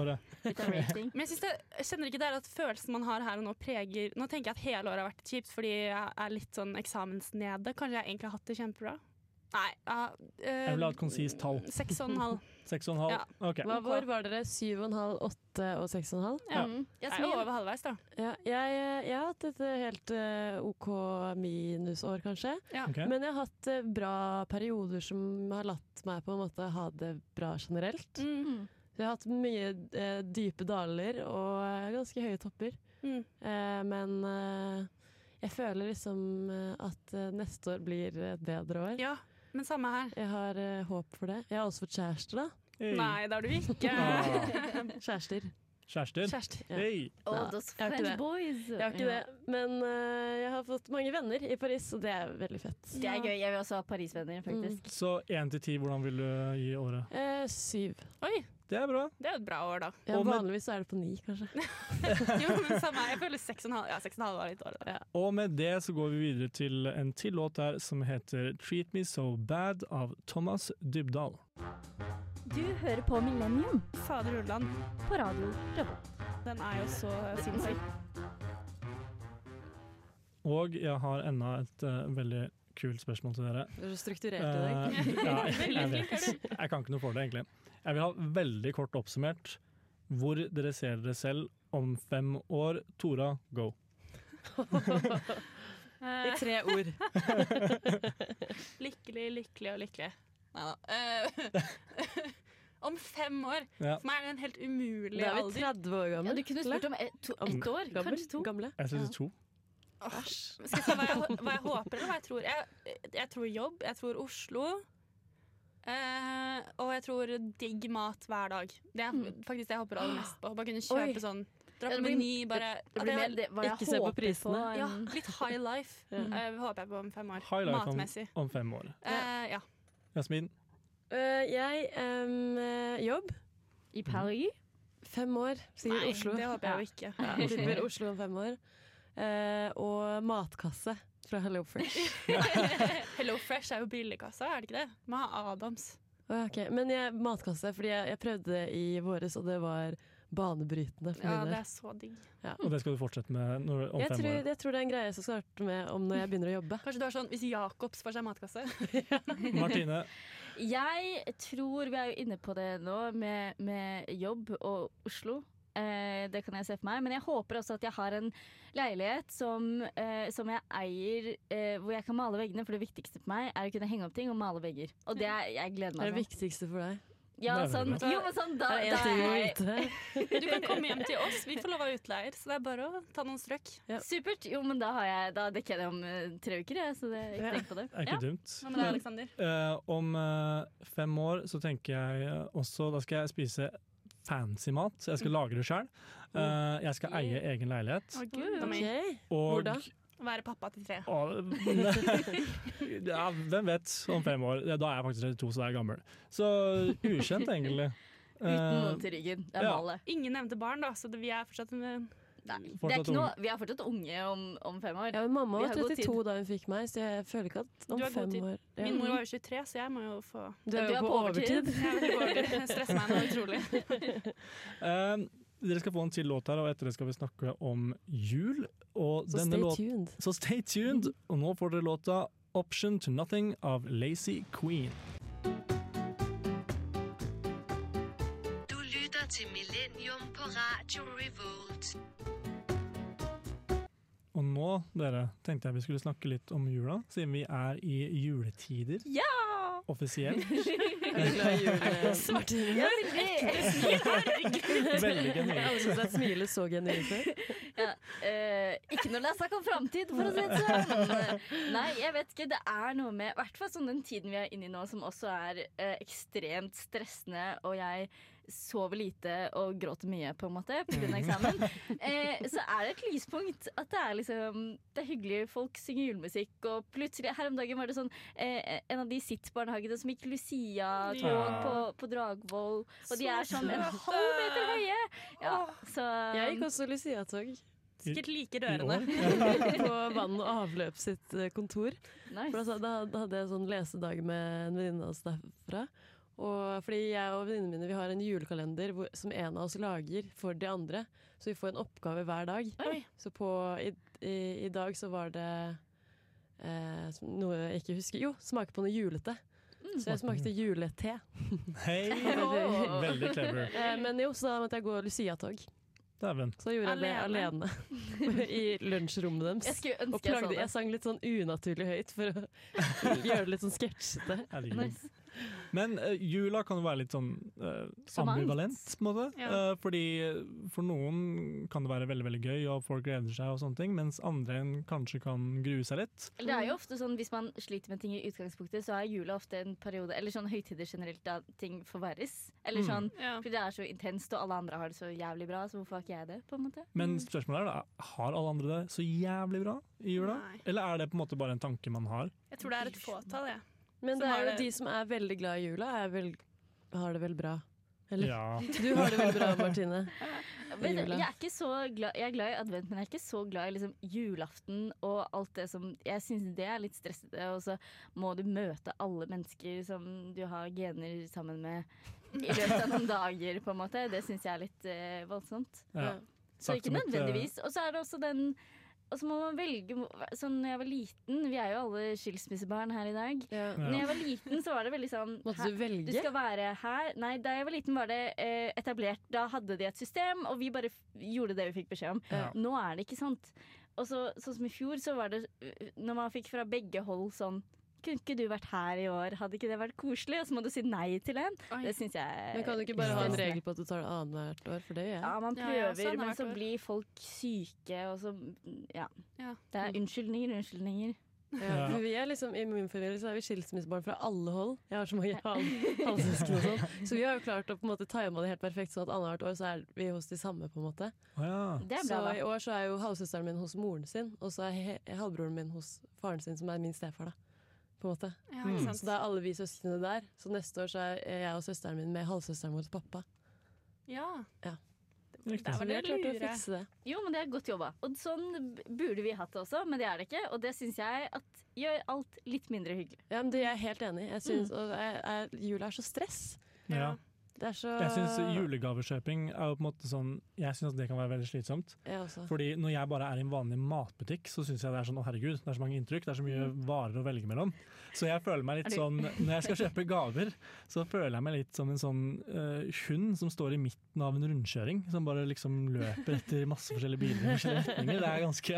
[SPEAKER 1] året.
[SPEAKER 3] Litt av rating.
[SPEAKER 2] Men jeg, synes det, jeg kjenner ikke det er at følelsen man har her og nå preger Nå tenker jeg at hele året har vært kjipt fordi jeg er litt sånn eksamensnede. Kanskje jeg egentlig har hatt det kjempebra? Nei. ja, eh,
[SPEAKER 1] Jeg vil ha et konsist tall.
[SPEAKER 2] Seks og en halv.
[SPEAKER 1] Seks og en halv? OK.
[SPEAKER 4] Hva, hvor var dere? 7,5, 8 og 6,5?
[SPEAKER 2] Ja.
[SPEAKER 3] Mm.
[SPEAKER 2] Jeg er jo
[SPEAKER 3] Jasmin,
[SPEAKER 2] over halvveis, da.
[SPEAKER 4] Ja, jeg, jeg har hatt et eh, helt eh, OK minusår, kanskje.
[SPEAKER 1] ok.
[SPEAKER 4] Men jeg har hatt eh, bra perioder som har latt meg på en måte ha det bra generelt.
[SPEAKER 2] Mm.
[SPEAKER 4] Så jeg har hatt mye eh, dype daler og eh, ganske høye topper.
[SPEAKER 2] Mm.
[SPEAKER 4] Eh, men eh, jeg føler liksom eh, at eh, neste år blir et bedre år.
[SPEAKER 2] Ja, men samme her.
[SPEAKER 4] Jeg har eh, håp for det. Jeg har også fått kjæreste, da.
[SPEAKER 1] Hey.
[SPEAKER 2] Nei, det har du ikke.
[SPEAKER 1] Ah,
[SPEAKER 4] Kjærester.
[SPEAKER 1] kjærester.
[SPEAKER 2] Kjærester.
[SPEAKER 4] Ja.
[SPEAKER 1] Hey.
[SPEAKER 3] all
[SPEAKER 4] Ja,
[SPEAKER 3] those
[SPEAKER 4] jeg har ikke
[SPEAKER 3] French
[SPEAKER 4] det.
[SPEAKER 3] boys.
[SPEAKER 4] Jeg har ikke det, men eh, jeg har fått mange venner i Paris, og det er veldig fett.
[SPEAKER 3] Det er gøy. Jeg vil også ha Paris-venner, faktisk.
[SPEAKER 1] Så én til ti, hvordan vil du gi året?
[SPEAKER 4] Eh, syv.
[SPEAKER 2] Oi,
[SPEAKER 1] Det er bra.
[SPEAKER 2] det er et bra år, da.
[SPEAKER 4] Ja,
[SPEAKER 1] Og med-
[SPEAKER 4] vanligvis er det på ni, kanskje.
[SPEAKER 2] Jo, men samme her. Jeg føler seks og en halv. Ja, seks og en halv var litt dårlig, da.
[SPEAKER 1] Og med det så går vi videre til en til låt der som heter 'Treat Me So Bad' av Thomas Dybdahl.
[SPEAKER 3] Du hører på Millennium
[SPEAKER 2] Fader Ulland,
[SPEAKER 3] på radio. Revolt.
[SPEAKER 2] den er jo så sinnssyk.
[SPEAKER 1] Og jeg har enda et eh, veldig kult spørsmål til dere.
[SPEAKER 4] Du er så strukturert i dag.
[SPEAKER 1] Eh, ja, jeg,
[SPEAKER 2] Veldig flink
[SPEAKER 1] vet. jeg kan ikke noe for det, egentlig. Jeg vil ha veldig kort oppsummert hvor dere ser dere selv om fem år. Tora, go.
[SPEAKER 2] Eh,
[SPEAKER 4] I tre ord.
[SPEAKER 2] Lykkelig, lykkelig og lykkelig. Nei da. Eh, om fem år.
[SPEAKER 1] Ja.
[SPEAKER 2] For meg er det en helt umulig
[SPEAKER 4] Da er vi
[SPEAKER 2] alder.
[SPEAKER 4] 30 år
[SPEAKER 3] Ja,
[SPEAKER 4] gamle.
[SPEAKER 3] du kunne spurt om ett to,
[SPEAKER 4] Om-
[SPEAKER 3] ett år,
[SPEAKER 4] Gammel?
[SPEAKER 3] kanskje to.
[SPEAKER 4] Gamle.
[SPEAKER 1] Jeg synes to.
[SPEAKER 2] Åh, Skal jeg si hva jeg, hva jeg håper, eller hva jeg tror? Jeg, jeg tror jobb, jeg tror Oslo. eh, og jeg tror digg mat hver dag. Det er faktisk det jeg håper aller mest på. Bare kunne kjøpe
[SPEAKER 3] Oi.
[SPEAKER 2] sånn. Dra på
[SPEAKER 3] Ja, det blir-
[SPEAKER 2] Meny, bare
[SPEAKER 3] Det
[SPEAKER 2] at
[SPEAKER 3] blir
[SPEAKER 2] jeg-
[SPEAKER 3] mer det, hva jeg
[SPEAKER 4] Ikke se på
[SPEAKER 3] håper
[SPEAKER 4] prisene.
[SPEAKER 3] enn-
[SPEAKER 2] Ja, litt high life eh, håper jeg på om fem år.
[SPEAKER 1] High life sånn- om,
[SPEAKER 2] Matmessig.
[SPEAKER 1] om fem år.
[SPEAKER 2] Eh, ja.
[SPEAKER 1] Jasmin,
[SPEAKER 4] Eh, jeg em, eh, jobb.
[SPEAKER 3] I Paris?
[SPEAKER 4] Fem år, sikkert
[SPEAKER 2] Nei,
[SPEAKER 4] Oslo.
[SPEAKER 2] Det håper jeg jo ikke.
[SPEAKER 4] Ja, Tipper Oslo om fem år. Eh, og matkasse fra Hello Fresh.
[SPEAKER 2] Hello Fresh er jo billigkassa, er det ikke det? Må ha Adams.
[SPEAKER 4] Å, ok. Men jeg, matkasse, fordi jeg, jeg prøvde det i våres, og det var banebrytende. For
[SPEAKER 2] Ja,
[SPEAKER 4] min
[SPEAKER 2] det
[SPEAKER 4] del.
[SPEAKER 2] er så digg.
[SPEAKER 1] og det skal du fortsette med når, om
[SPEAKER 4] Jeg,
[SPEAKER 1] fem
[SPEAKER 4] tror,
[SPEAKER 1] år.
[SPEAKER 4] jeg tror det er en greie jeg skal starte med om når jeg begynner å jobbe.
[SPEAKER 2] Kanskje du har sånn hvis Jacobs får seg matkasse.
[SPEAKER 1] Martine,
[SPEAKER 3] Jeg tror vi er jo inne på det nå med, med jobb og Oslo. Eh, det kan jeg se for meg. Men jeg håper også at jeg har en leilighet som, eh, som jeg eier eh, hvor jeg kan male veggene, for det viktigste for meg er å kunne henge opp ting og male vegger. Og det er, jeg gleder
[SPEAKER 4] Det er
[SPEAKER 3] meg
[SPEAKER 4] det
[SPEAKER 3] sånn.
[SPEAKER 4] viktigste for deg.
[SPEAKER 3] Ja,
[SPEAKER 1] Det er
[SPEAKER 3] sånn,
[SPEAKER 1] veldig
[SPEAKER 2] bra.
[SPEAKER 3] jo, men sånn da,
[SPEAKER 4] Det er
[SPEAKER 3] da
[SPEAKER 4] én ting du må
[SPEAKER 3] er jeg
[SPEAKER 4] vite.
[SPEAKER 2] Du kan komme hjem til oss, vi får lov av utleier, så det er bare å ta noen strøk.
[SPEAKER 3] Supert. Jo, men da, har jeg, da dekker jeg det om eh, tre uker, jeg, så det,
[SPEAKER 4] Ja.
[SPEAKER 3] ikke tenk på det.
[SPEAKER 1] er ikke
[SPEAKER 3] Ja.
[SPEAKER 1] dumt.
[SPEAKER 2] Hva med deg, Aleksander?
[SPEAKER 1] Eh, om eh, fem år så tenker jeg eh, også Da skal jeg spise fancy mat. så Jeg skal lage det sjøl. jeg skal eie egen leilighet.
[SPEAKER 2] Å gud, da må jeg
[SPEAKER 4] Ok. Hvor
[SPEAKER 1] Og
[SPEAKER 4] da?
[SPEAKER 2] være pappa til tre.
[SPEAKER 1] Å, ja, hvem vet om fem år? Ja, Da er jeg faktisk 32, så da er jeg gammel. Så ukjent, egentlig.
[SPEAKER 3] Uten
[SPEAKER 1] Eh,
[SPEAKER 3] noen til ryggen. Det er
[SPEAKER 1] ja.
[SPEAKER 3] målet.
[SPEAKER 2] Ingen nevnte barn, da, så det, vi er fortsatt med
[SPEAKER 3] Nei. Det er
[SPEAKER 1] Fortsatt
[SPEAKER 3] ikke noe, vi er fortsatt unge om, om fem år.
[SPEAKER 4] Ja, men mamma
[SPEAKER 3] Vi
[SPEAKER 4] var
[SPEAKER 3] har god
[SPEAKER 4] 32 da hun fikk meg, så jeg føler ikke at om
[SPEAKER 2] Du har god
[SPEAKER 4] fem
[SPEAKER 2] tid.
[SPEAKER 4] år ja.
[SPEAKER 2] Min mor var jo 23, så jeg må jo få
[SPEAKER 4] Du er jo på overtid.
[SPEAKER 2] Jeg vet ikke hvor det- det stresser meg noe utrolig.
[SPEAKER 1] eh, dere skal få en til låt her, og etter det skal vi snakke om jul. Og
[SPEAKER 4] Så
[SPEAKER 1] denne
[SPEAKER 4] stay
[SPEAKER 1] låt-
[SPEAKER 4] tuned.
[SPEAKER 1] så stay tuned. Og nå får dere låta 'Option to Nothing' av Lazy Queen.
[SPEAKER 7] Du lytter til Millennium på Radio Revolt.
[SPEAKER 1] Og nå, dere, tenkte jeg vi skulle snakke litt om jula, siden vi er i juletider.
[SPEAKER 3] Ja!
[SPEAKER 1] Offisielt.
[SPEAKER 4] Er du glad i jul? eh. Smart.
[SPEAKER 3] Ja, veldig.
[SPEAKER 1] Veldig
[SPEAKER 4] Jeg har
[SPEAKER 1] genuint.
[SPEAKER 4] aldri sett deg smile så genuint før.
[SPEAKER 3] Eh, ikke når det er snakk om framtid, for å si det sånn. Nei, jeg vet ikke. Det er noe med I hvert fall sånn den tiden vi er inne i nå, som også er eh, ekstremt stressende, og jeg sover lite og gråter mye, på en måte, pga. eksamen. Eh, så er det et lyspunkt at det er liksom Det er hyggelig, folk synger julemusikk, og plutselig Her om dagen var det sånn eh, en av de sitt-barnehagene som gikk Lucia-tog
[SPEAKER 1] Ja.
[SPEAKER 3] på, på Dragvoll, og de er sånn
[SPEAKER 2] søte.
[SPEAKER 3] en halv meter høye! Ja, så
[SPEAKER 4] Jeg gikk også Lucia-tog
[SPEAKER 2] Sikkert like
[SPEAKER 1] I år.
[SPEAKER 2] rørende.
[SPEAKER 4] på Vann og Avløp sitt eh, kontor.
[SPEAKER 3] nice.
[SPEAKER 4] For altså, da, da hadde jeg sånn lesedag med en venninne av oss derfra. Og fordi jeg og venninnene mine vi har en julekalender hvor, som en av oss lager for de andre. Så vi får en oppgave hver dag.
[SPEAKER 2] Oi.
[SPEAKER 4] Så på, i, i, i dag så var det eh, som- noe jeg ikke husker. Jo, smake på noe julete.
[SPEAKER 3] Mm.
[SPEAKER 4] Så jeg smakte julete.
[SPEAKER 1] Hei!
[SPEAKER 4] Eh,
[SPEAKER 1] Veldig clever.
[SPEAKER 4] Men jo, så da måtte jeg gå Lucia-tog.
[SPEAKER 1] Dæven.
[SPEAKER 4] Så da gjorde jeg det alene. I lunsjrommet
[SPEAKER 3] Jeg
[SPEAKER 4] deres.
[SPEAKER 3] skulle
[SPEAKER 4] Og
[SPEAKER 3] ønske jeg
[SPEAKER 4] plagde,
[SPEAKER 3] så det.
[SPEAKER 4] jeg sang litt sånn unaturlig høyt for å gjøre det litt sånn sketsjete.
[SPEAKER 1] Herregud.
[SPEAKER 3] Nice.
[SPEAKER 1] Men eh, jula kan jo være litt sånn eh,
[SPEAKER 3] Så mangt.
[SPEAKER 1] ambivalent, på en måte.
[SPEAKER 2] Ja.
[SPEAKER 1] Eh, fordi for noen kan det være veldig veldig gøy, og folk gleder seg, og sånne ting, mens andre en kanskje kan grue seg litt.
[SPEAKER 3] Det er jo ofte sånn Hvis man sliter med ting i utgangspunktet, så er jula ofte en periode Eller sånn høytider generelt da ting forverres. Eller
[SPEAKER 1] Mm.
[SPEAKER 3] sånn
[SPEAKER 2] Ja.
[SPEAKER 3] fordi det er så intenst, og alle andre har det så jævlig bra, så hvorfor har ikke jeg det? på en måte?
[SPEAKER 1] Men spørsmålet er da, har alle andre det så jævlig bra i jula?
[SPEAKER 2] Nei.
[SPEAKER 1] Eller er det på en måte bare en tanke man har?
[SPEAKER 2] Jeg tror det er et fåtall, jeg.
[SPEAKER 4] Men
[SPEAKER 2] Som
[SPEAKER 4] det
[SPEAKER 2] har
[SPEAKER 4] er jo
[SPEAKER 2] det-
[SPEAKER 4] de som er veldig glad i jula, er vel, har det vel bra. Eller?
[SPEAKER 1] Ja.
[SPEAKER 4] Du har det veldig bra, Martine.
[SPEAKER 3] Vet du,
[SPEAKER 4] Jula.
[SPEAKER 3] jeg, er ikke så glad, jeg er glad i advent, men jeg er ikke så glad i liksom, julaften og alt det som Jeg syns det er litt stressete, og så må du møte alle mennesker som du har gener sammen med i løpet av noen dager, på en måte. Det syns jeg er litt eh, voldsomt.
[SPEAKER 1] ja.
[SPEAKER 3] Så
[SPEAKER 1] Sagt
[SPEAKER 3] ikke
[SPEAKER 1] som et, eh,
[SPEAKER 3] nødvendigvis. Og så er det også den Og så må man velge hvor- sånn når jeg var liten Vi er jo alle skilsmissebarn her i dag.
[SPEAKER 1] Ja.
[SPEAKER 3] Når jeg var liten, så var det veldig sånn
[SPEAKER 4] Måtte du
[SPEAKER 3] her- Du
[SPEAKER 4] velge?
[SPEAKER 3] skal være her. Nei, da jeg var liten, var det eh, etablert. Da hadde de et system, og vi bare f gjorde det vi fikk beskjed om.
[SPEAKER 1] Ja.
[SPEAKER 2] Eh,
[SPEAKER 3] Nå er det ikke sant. Og så, sånn som i fjor, så var det eh, når man fikk fra begge hold sånn Kunne ikke du vært her i år? Hadde ikke det vært koselig? Og så må du si nei til en. Det syns jeg
[SPEAKER 4] Men kan du ikke bare ha en
[SPEAKER 3] stressende.
[SPEAKER 4] regel på at du tar det annethvert år, for det gjør
[SPEAKER 3] Ja,
[SPEAKER 4] jeg.
[SPEAKER 3] man
[SPEAKER 2] Ja,
[SPEAKER 3] prøver,
[SPEAKER 2] ja, sånn har det
[SPEAKER 3] men
[SPEAKER 2] vært
[SPEAKER 3] så
[SPEAKER 2] før.
[SPEAKER 3] blir folk syke, og så Ja.
[SPEAKER 2] Ja.
[SPEAKER 3] Det er unnskyldninger, unnskyldninger.
[SPEAKER 1] Ja.
[SPEAKER 4] For vi er liksom, I min familie så er vi skilsmissebarn fra alle hold. Jeg har så mange hal- halvsøsken og sånn. Så vi har jo klart å på en måte time det helt perfekt, sånn at annethvert år så er vi hos de samme. på en måte.
[SPEAKER 1] Å ja.
[SPEAKER 3] Det er
[SPEAKER 4] Så
[SPEAKER 3] bra,
[SPEAKER 4] i
[SPEAKER 3] da.
[SPEAKER 4] år så er jo halvsøsteren min hos moren sin, og så er he- halvbroren min hos faren sin, som er min stefar, da. På en måte.
[SPEAKER 2] Ja, ikke
[SPEAKER 4] Så
[SPEAKER 2] sant?
[SPEAKER 4] da er alle vi søsknene der. Så neste år så er jeg og søsteren min med halvsøsteren vår til pappa.
[SPEAKER 2] Ja.
[SPEAKER 4] Ja.
[SPEAKER 1] Riktig.
[SPEAKER 2] Der
[SPEAKER 4] Så
[SPEAKER 2] var
[SPEAKER 4] vi
[SPEAKER 2] det
[SPEAKER 4] har klart å
[SPEAKER 2] lure.
[SPEAKER 4] fikse det.
[SPEAKER 3] Jo, men det er godt jobba. Og sånn b- burde vi hatt det også, men det er det ikke. Og det syns jeg at gjør alt litt mindre hyggelig.
[SPEAKER 4] Ja, men det er jeg helt enig i. Jeg synes,
[SPEAKER 2] Mm.
[SPEAKER 4] og jeg, jeg, jula er så stress.
[SPEAKER 1] Ja.
[SPEAKER 4] Det er så
[SPEAKER 1] Jeg syns julegavekjøping er jo på en måte sånn Jeg synes det kan være veldig slitsomt.
[SPEAKER 4] Jeg også.
[SPEAKER 1] Fordi når jeg bare er i en vanlig matbutikk, så syns jeg det er sånn å herregud, det er så mange inntrykk, det er så mye
[SPEAKER 2] Mm.
[SPEAKER 1] varer å velge mellom. Så jeg føler meg litt sånn Når jeg skal kjøpe gaver, så føler jeg meg litt som en sånn eh, hund som står i midten av en rundkjøring, som bare liksom løper etter masse forskjellige biler i forskjellige retninger. Det er ganske, det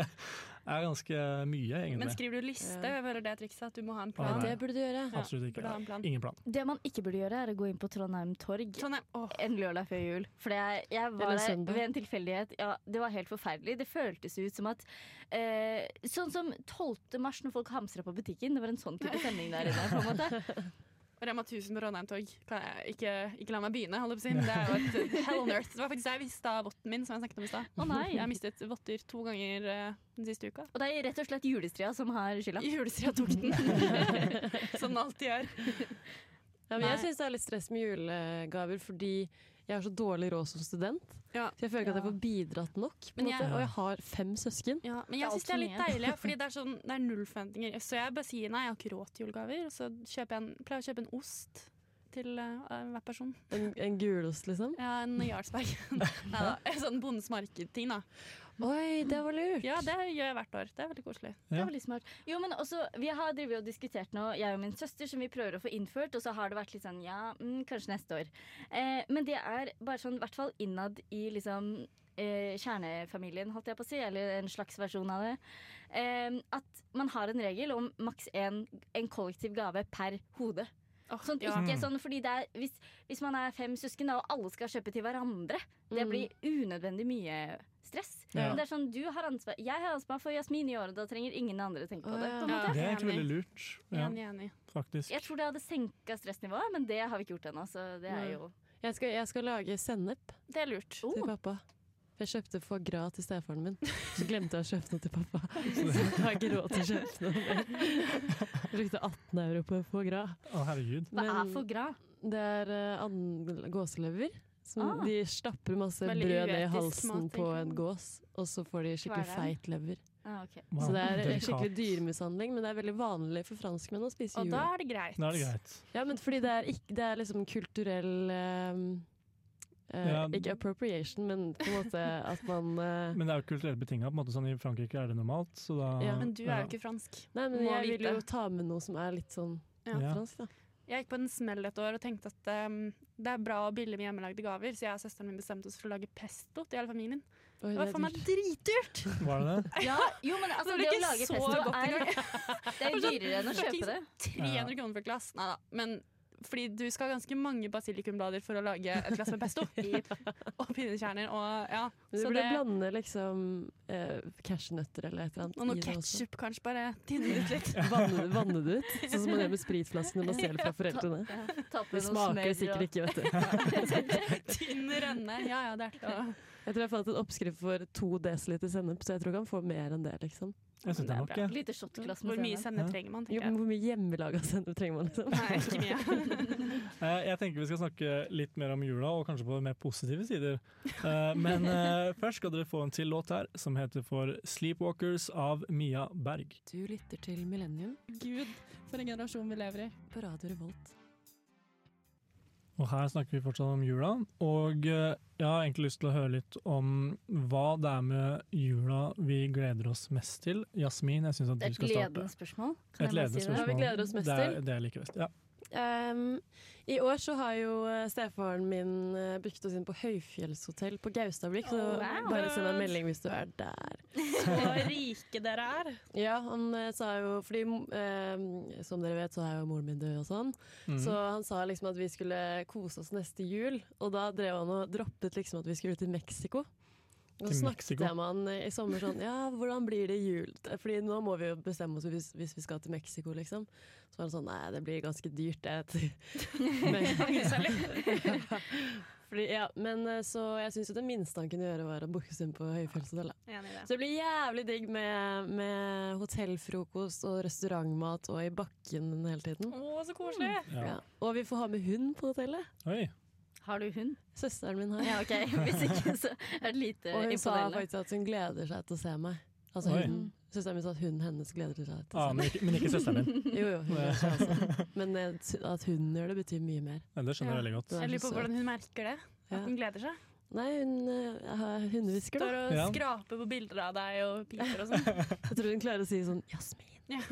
[SPEAKER 1] er ganske mye,
[SPEAKER 2] Men
[SPEAKER 1] egentlig.
[SPEAKER 2] skriver du liste?
[SPEAKER 4] Ja.
[SPEAKER 2] Jeg hører det trikset at du må ha en
[SPEAKER 1] Å,
[SPEAKER 2] plan.
[SPEAKER 1] nei.
[SPEAKER 4] Det burde du gjøre.
[SPEAKER 2] Ja,
[SPEAKER 1] Absolutt ikke.
[SPEAKER 2] burde ha en plan.
[SPEAKER 1] Ingen plan.
[SPEAKER 3] Det man ikke burde gjøre, er å gå inn på Trondheim Torg
[SPEAKER 2] Trondheim. Åh,
[SPEAKER 3] en lørdag før jul. For jeg, jeg var
[SPEAKER 4] Eller
[SPEAKER 3] der
[SPEAKER 4] søndag.
[SPEAKER 3] ved en tilfeldighet. Ja, det var helt forferdelig. Det føltes ut som at eh, Sånn som 12. mars når folk hamstra på butikken. Det var en sånn type stemning der inne. på en måte.
[SPEAKER 2] Rema 1000 på Trondheim-tog. Kan jeg Ikke, ikke la meg begynne, holdt jeg på å si. Men det er jo et hell on earth. Det var faktisk der jeg mista votten min, som jeg snakket om i stad.
[SPEAKER 3] Å nei.
[SPEAKER 2] Jeg har mistet votter to ganger eh, den siste uka.
[SPEAKER 3] Og det er rett og slett julestria som har skylda.
[SPEAKER 2] I julestria tok den. som den alltid Sånn gjør.
[SPEAKER 4] Ja, men jeg
[SPEAKER 2] Nei.
[SPEAKER 4] syns det er litt stress med julegaver fordi jeg har så dårlig råd som student.
[SPEAKER 2] Ja.
[SPEAKER 4] Så jeg føler ikke at jeg
[SPEAKER 3] Ja.
[SPEAKER 4] får bidratt nok. På
[SPEAKER 2] Men
[SPEAKER 4] en måte.
[SPEAKER 1] jeg-
[SPEAKER 4] Og jeg har fem søsken.
[SPEAKER 2] Ja, men
[SPEAKER 3] Det er
[SPEAKER 2] jeg syns det er litt
[SPEAKER 3] altfor mye.
[SPEAKER 2] deilig, fordi det er, sånn, det er null forventninger. Så jeg bare sier nei, jeg har ikke råd til julegaver. Og så kjøper jeg en, pleier jeg å kjøpe en ost til eh, hver person.
[SPEAKER 4] En, en gulost, liksom.
[SPEAKER 2] Ja, en Jarlsberg. Nei da. En Sånn Bondens marked-ting, da.
[SPEAKER 4] Oi, det var lurt!
[SPEAKER 2] Ja, det gjør jeg hvert år. Det er veldig koselig.
[SPEAKER 3] Det
[SPEAKER 1] Ja.
[SPEAKER 3] er veldig smart. Jo, men også, Vi har drevet og diskutert nå, jeg og min søster, som vi prøver å få innført. Og så har det vært litt sånn ja, mm, kanskje neste år. Eh, men det er bare sånn, i hvert fall innad i liksom eh, kjernefamilien, holdt jeg på å si. Eller en slags versjon av det. Eh, at man har en regel om maks én en kollektiv gave per hode.
[SPEAKER 2] Åh,
[SPEAKER 3] Sånn,
[SPEAKER 2] ja.
[SPEAKER 1] Mm.
[SPEAKER 3] ikke sånn, fordi det er, hvis, hvis man er fem søsken da, og alle skal kjøpe til hverandre, det
[SPEAKER 4] Mm.
[SPEAKER 3] blir unødvendig mye stress.
[SPEAKER 1] Ja.
[SPEAKER 3] Det er sånn, du har ansvar, Jeg har ansvar for Jasmin i år, og da trenger ingen andre tenke på det.
[SPEAKER 4] Å,
[SPEAKER 3] På en
[SPEAKER 2] ja.
[SPEAKER 3] måte.
[SPEAKER 1] Det er egentlig
[SPEAKER 2] Enig.
[SPEAKER 1] veldig lurt, ja,
[SPEAKER 2] Enig, enig.
[SPEAKER 1] faktisk.
[SPEAKER 3] Jeg tror det hadde senka stressnivået, men det har vi ikke gjort ennå. Så det er
[SPEAKER 4] Nei.
[SPEAKER 3] jo
[SPEAKER 4] Jeg, skal, jeg skal lage sennep
[SPEAKER 2] Det er lurt.
[SPEAKER 4] til
[SPEAKER 3] oh,
[SPEAKER 4] pappa. For jeg kjøpte foie gras til stefaren min. Så glemte jeg å kjøpe noe til pappa. Så jeg har ikke råd til å kjøpe noe mer. Brukte 18 euro på foie gras.
[SPEAKER 1] Å, herregud.
[SPEAKER 3] Hva er
[SPEAKER 4] Men-
[SPEAKER 3] for gra?
[SPEAKER 4] Det er eh, and- gåselever. Som
[SPEAKER 3] Ah.
[SPEAKER 4] De stapper masse
[SPEAKER 2] Veldig
[SPEAKER 4] brød ned i
[SPEAKER 2] uetisk
[SPEAKER 4] halsen
[SPEAKER 2] mat,
[SPEAKER 4] på
[SPEAKER 2] egentlig.
[SPEAKER 4] en gås, og så får de skikkelig
[SPEAKER 3] Kveler den.
[SPEAKER 4] feit lever.
[SPEAKER 3] Ah. Ah, ok.
[SPEAKER 1] Wow,
[SPEAKER 4] Så det er
[SPEAKER 1] delikat.
[SPEAKER 4] skikkelig dyremishandling, men det er veldig vanlig for franskmenn å spise
[SPEAKER 2] Og
[SPEAKER 4] jule.
[SPEAKER 2] da er det greit.
[SPEAKER 1] Da er det greit.
[SPEAKER 4] Ja, men fordi det er, ikke, det er liksom kulturell ehm, eh,
[SPEAKER 1] Ja.
[SPEAKER 4] Ikke appropriation, men på en måte at man eh,
[SPEAKER 1] Men det er jo kulturelt betinga. Sånn, I Frankrike er det normalt. Så da,
[SPEAKER 4] Ja.
[SPEAKER 2] Men du er jo ikke fransk.
[SPEAKER 4] Nei, men
[SPEAKER 2] må
[SPEAKER 4] jeg vil
[SPEAKER 2] vite.
[SPEAKER 4] jo ta med noe som er litt sånn
[SPEAKER 2] Ja.
[SPEAKER 1] Ja.
[SPEAKER 4] fransk, da.
[SPEAKER 2] Jeg gikk på en smell et år og tenkte at um, det er bra og billig med hjemmelagde gaver, så jeg og søsteren min bestemte oss for å lage pesto til hele familien.
[SPEAKER 4] Oi,
[SPEAKER 2] Det
[SPEAKER 4] det
[SPEAKER 2] var
[SPEAKER 4] er
[SPEAKER 2] faen meg
[SPEAKER 4] dyrt.
[SPEAKER 2] dritdyrt!
[SPEAKER 1] Var det det?
[SPEAKER 3] Ja, jo, men altså,
[SPEAKER 2] Det
[SPEAKER 3] det,
[SPEAKER 2] blir
[SPEAKER 3] å
[SPEAKER 2] ikke
[SPEAKER 3] lage
[SPEAKER 2] så
[SPEAKER 3] pesto
[SPEAKER 2] godt
[SPEAKER 3] er, det er dyrere enn å
[SPEAKER 2] Fucking
[SPEAKER 3] kjøpe det.
[SPEAKER 2] 300 kroner for et glass. Nei da. Men fordi du skal ha ganske mange basilikumblader for å lage et glass med pesto. og pinnekjerner og ja.
[SPEAKER 4] Men du
[SPEAKER 2] Så
[SPEAKER 4] burde
[SPEAKER 2] det-
[SPEAKER 4] blande liksom eh, cashewnøtter eller et eller annet.
[SPEAKER 2] Og
[SPEAKER 4] i
[SPEAKER 2] noe
[SPEAKER 4] det også.
[SPEAKER 2] ketsjup kanskje, bare tynne ut litt.
[SPEAKER 4] Vanne, vanne det ut, sånn som man gjør med spritflaskene man stjeler fra foreldrene.
[SPEAKER 3] Ta på
[SPEAKER 4] Det
[SPEAKER 3] noe
[SPEAKER 4] smaker
[SPEAKER 3] smør og-
[SPEAKER 4] sikkert ikke, vet du.
[SPEAKER 2] Tynn rønne. Ja ja, det er til å
[SPEAKER 4] Jeg tror jeg fant en oppskrift for to desiliter sennep, så jeg tror ikke han får mer enn det, liksom.
[SPEAKER 1] Jeg syns det er nok, jeg.
[SPEAKER 3] Lite shotglass
[SPEAKER 2] Hvor
[SPEAKER 3] med
[SPEAKER 2] mye
[SPEAKER 3] sennep.
[SPEAKER 2] sennep trenger man,
[SPEAKER 4] Jo,
[SPEAKER 2] tenker
[SPEAKER 4] men
[SPEAKER 2] jeg.
[SPEAKER 4] hvor mye hjemmelaga sennep trenger man, liksom?
[SPEAKER 2] Nei, ikke mye.
[SPEAKER 1] Eh, Jeg tenker vi skal snakke litt mer om jula, og kanskje på mer positive sider. Eh, Men eh, først skal dere få en til låt her, som heter for 'Sleepwalkers' av Mia Berg.
[SPEAKER 4] Du lytter til Millennium
[SPEAKER 2] Gud, for en generasjon vi lever i.
[SPEAKER 4] på Radio Revolt.
[SPEAKER 1] Og her snakker vi fortsatt om jula, og eh, jeg har egentlig lyst til å høre litt om hva det er med jula vi gleder oss mest til. Jasmin, jeg syns at
[SPEAKER 3] Det
[SPEAKER 1] du
[SPEAKER 3] er et
[SPEAKER 1] skal starte.
[SPEAKER 3] ledende spørsmål. Kan jeg bare
[SPEAKER 1] ledende
[SPEAKER 3] si
[SPEAKER 4] Hva
[SPEAKER 1] spørsmål.
[SPEAKER 3] det?
[SPEAKER 4] vi gleder oss mest
[SPEAKER 1] Det er
[SPEAKER 4] til?
[SPEAKER 1] det jeg liker best. Ja.
[SPEAKER 4] Um, I år så har jo eh, stefaren min eh, brukt oss inn på høyfjellshotell på Gaustablikk, så
[SPEAKER 1] Oh,
[SPEAKER 3] wow.
[SPEAKER 4] bare send meg en melding hvis du er der.
[SPEAKER 2] Så rike dere er.
[SPEAKER 4] Ja, han eh, sa jo, fordi eh, som dere vet så er jo moren min død og sånn,
[SPEAKER 1] Mhm.
[SPEAKER 4] så han sa liksom at vi skulle kose oss neste jul, og da drev han og droppet liksom at vi skulle til Mexico. Og så
[SPEAKER 1] Til
[SPEAKER 4] snakket
[SPEAKER 1] Mexico?
[SPEAKER 4] jeg med han i sommer sånn, ja, hvordan blir det jul? Fordi nå må vi jo bestemme oss hvis, hvis vi skal til Mexico, liksom. Så var han sånn, nei, det blir ganske dyrt det. Men, Fordi, ja, men eh, så jeg syns jo det minste han kunne gjøre, var å booke oss inn på høyfjellshotellet.
[SPEAKER 2] Enig i det.
[SPEAKER 4] Så det blir jævlig digg med, med hotellfrokost og restaurantmat og i bakken hele tiden.
[SPEAKER 2] Å, så koselig!
[SPEAKER 1] Ja.
[SPEAKER 4] Ja. Og vi får ha med hund på hotellet.
[SPEAKER 1] Oi.
[SPEAKER 3] Har du hund?
[SPEAKER 4] Søsteren min har.
[SPEAKER 3] Ja, ok. Hvis ikke, så er det lite
[SPEAKER 4] Og hun sa
[SPEAKER 3] imponerende.
[SPEAKER 4] faktisk at hun gleder seg til å se meg. Altså
[SPEAKER 1] Oi.
[SPEAKER 4] hunden. Søsteren min sa at hunden hennes gleder seg til å
[SPEAKER 1] Ah,
[SPEAKER 4] se meg.
[SPEAKER 1] men, ikke, men ikke søsteren din.
[SPEAKER 4] Jo, jo, hun gjør det også. Men eh, t- at hunden gjør det, betyr mye mer.
[SPEAKER 1] Ja, det skjønner jeg veldig godt.
[SPEAKER 4] Hun er
[SPEAKER 2] Jeg lurer
[SPEAKER 4] så
[SPEAKER 2] på
[SPEAKER 4] søt.
[SPEAKER 2] hvordan hun merker det.
[SPEAKER 4] Ja.
[SPEAKER 2] At hun gleder seg.
[SPEAKER 4] Nei, hun eh, har hundehvisker,
[SPEAKER 2] Står
[SPEAKER 4] da.
[SPEAKER 2] og
[SPEAKER 1] Ja.
[SPEAKER 2] skraper på bilder av deg og piper og sånn.
[SPEAKER 4] Jeg tror hun klarer å si sånn 'Jasmin'.
[SPEAKER 2] Ja.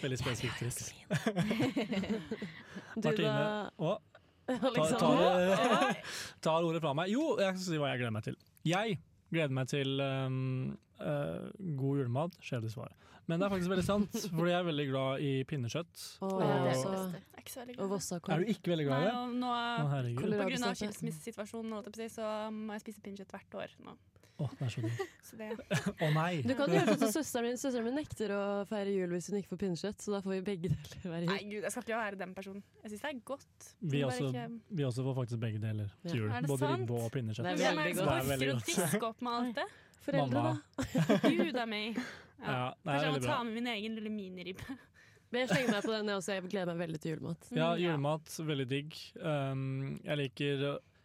[SPEAKER 1] Veldig spesifikt triks.
[SPEAKER 4] Du
[SPEAKER 1] Martine,
[SPEAKER 4] da,
[SPEAKER 1] å, ta, ta,
[SPEAKER 4] Alexander?
[SPEAKER 1] det- ta ordet fra meg. Jo, jeg skal si hva jeg gleder meg til. Jeg gleder meg til um, eh, god julemat, kjedelig svar. Men det er faktisk veldig sant, fordi jeg er veldig glad i pinnekjøtt.
[SPEAKER 4] Å,
[SPEAKER 1] Og-
[SPEAKER 3] Ja, det er
[SPEAKER 4] så-
[SPEAKER 3] det beste.
[SPEAKER 2] Jeg er ikke så veldig
[SPEAKER 4] Og
[SPEAKER 2] glad.
[SPEAKER 4] Vossakorv.
[SPEAKER 1] Er du ikke veldig
[SPEAKER 2] Nei,
[SPEAKER 1] glad i det?
[SPEAKER 2] og nå,
[SPEAKER 1] Å, herregud.
[SPEAKER 2] på grunn
[SPEAKER 4] Kolera-
[SPEAKER 2] av
[SPEAKER 4] Kålrabistappe.
[SPEAKER 2] skilsmissesituasjonen holdt jeg på å si, så må jeg spise pinnekjøtt hvert år nå.
[SPEAKER 1] Å, det er så digg.
[SPEAKER 2] Så det,
[SPEAKER 1] Å nei!
[SPEAKER 4] Du kan gjøre det til søsteren min. Søsteren min nekter å feire jul hvis hun ikke får pinnekjøtt, så da får vi begge deler hver
[SPEAKER 2] nei,
[SPEAKER 4] jul.
[SPEAKER 2] gud, jeg skal ikke være den personen. Jeg syns det er godt.
[SPEAKER 1] Vi
[SPEAKER 2] men bare
[SPEAKER 1] også,
[SPEAKER 2] ikke-
[SPEAKER 1] vi også får faktisk begge deler til jul.
[SPEAKER 2] Er det
[SPEAKER 1] Både
[SPEAKER 2] sant?
[SPEAKER 1] ribbe og pinnekjøtt.
[SPEAKER 4] Det er
[SPEAKER 2] Hvem er det
[SPEAKER 1] godt. Det
[SPEAKER 2] som
[SPEAKER 1] er
[SPEAKER 2] orker å
[SPEAKER 1] veldig godt.
[SPEAKER 2] diske opp med alt det?
[SPEAKER 4] Foreldre,
[SPEAKER 1] Mamma.
[SPEAKER 4] da.
[SPEAKER 2] Gud a meg.
[SPEAKER 1] Ja, det
[SPEAKER 2] Ja.
[SPEAKER 1] er
[SPEAKER 2] Kanskje jeg må
[SPEAKER 1] veldig bra.
[SPEAKER 2] ta med min egen lille miniribbe.
[SPEAKER 4] Men jeg slenger meg på den, jeg også. Jeg gleder meg veldig til julemat.
[SPEAKER 1] Ja,
[SPEAKER 2] Mm, ja.
[SPEAKER 1] julemat, veldig digg. Um, jeg, liker,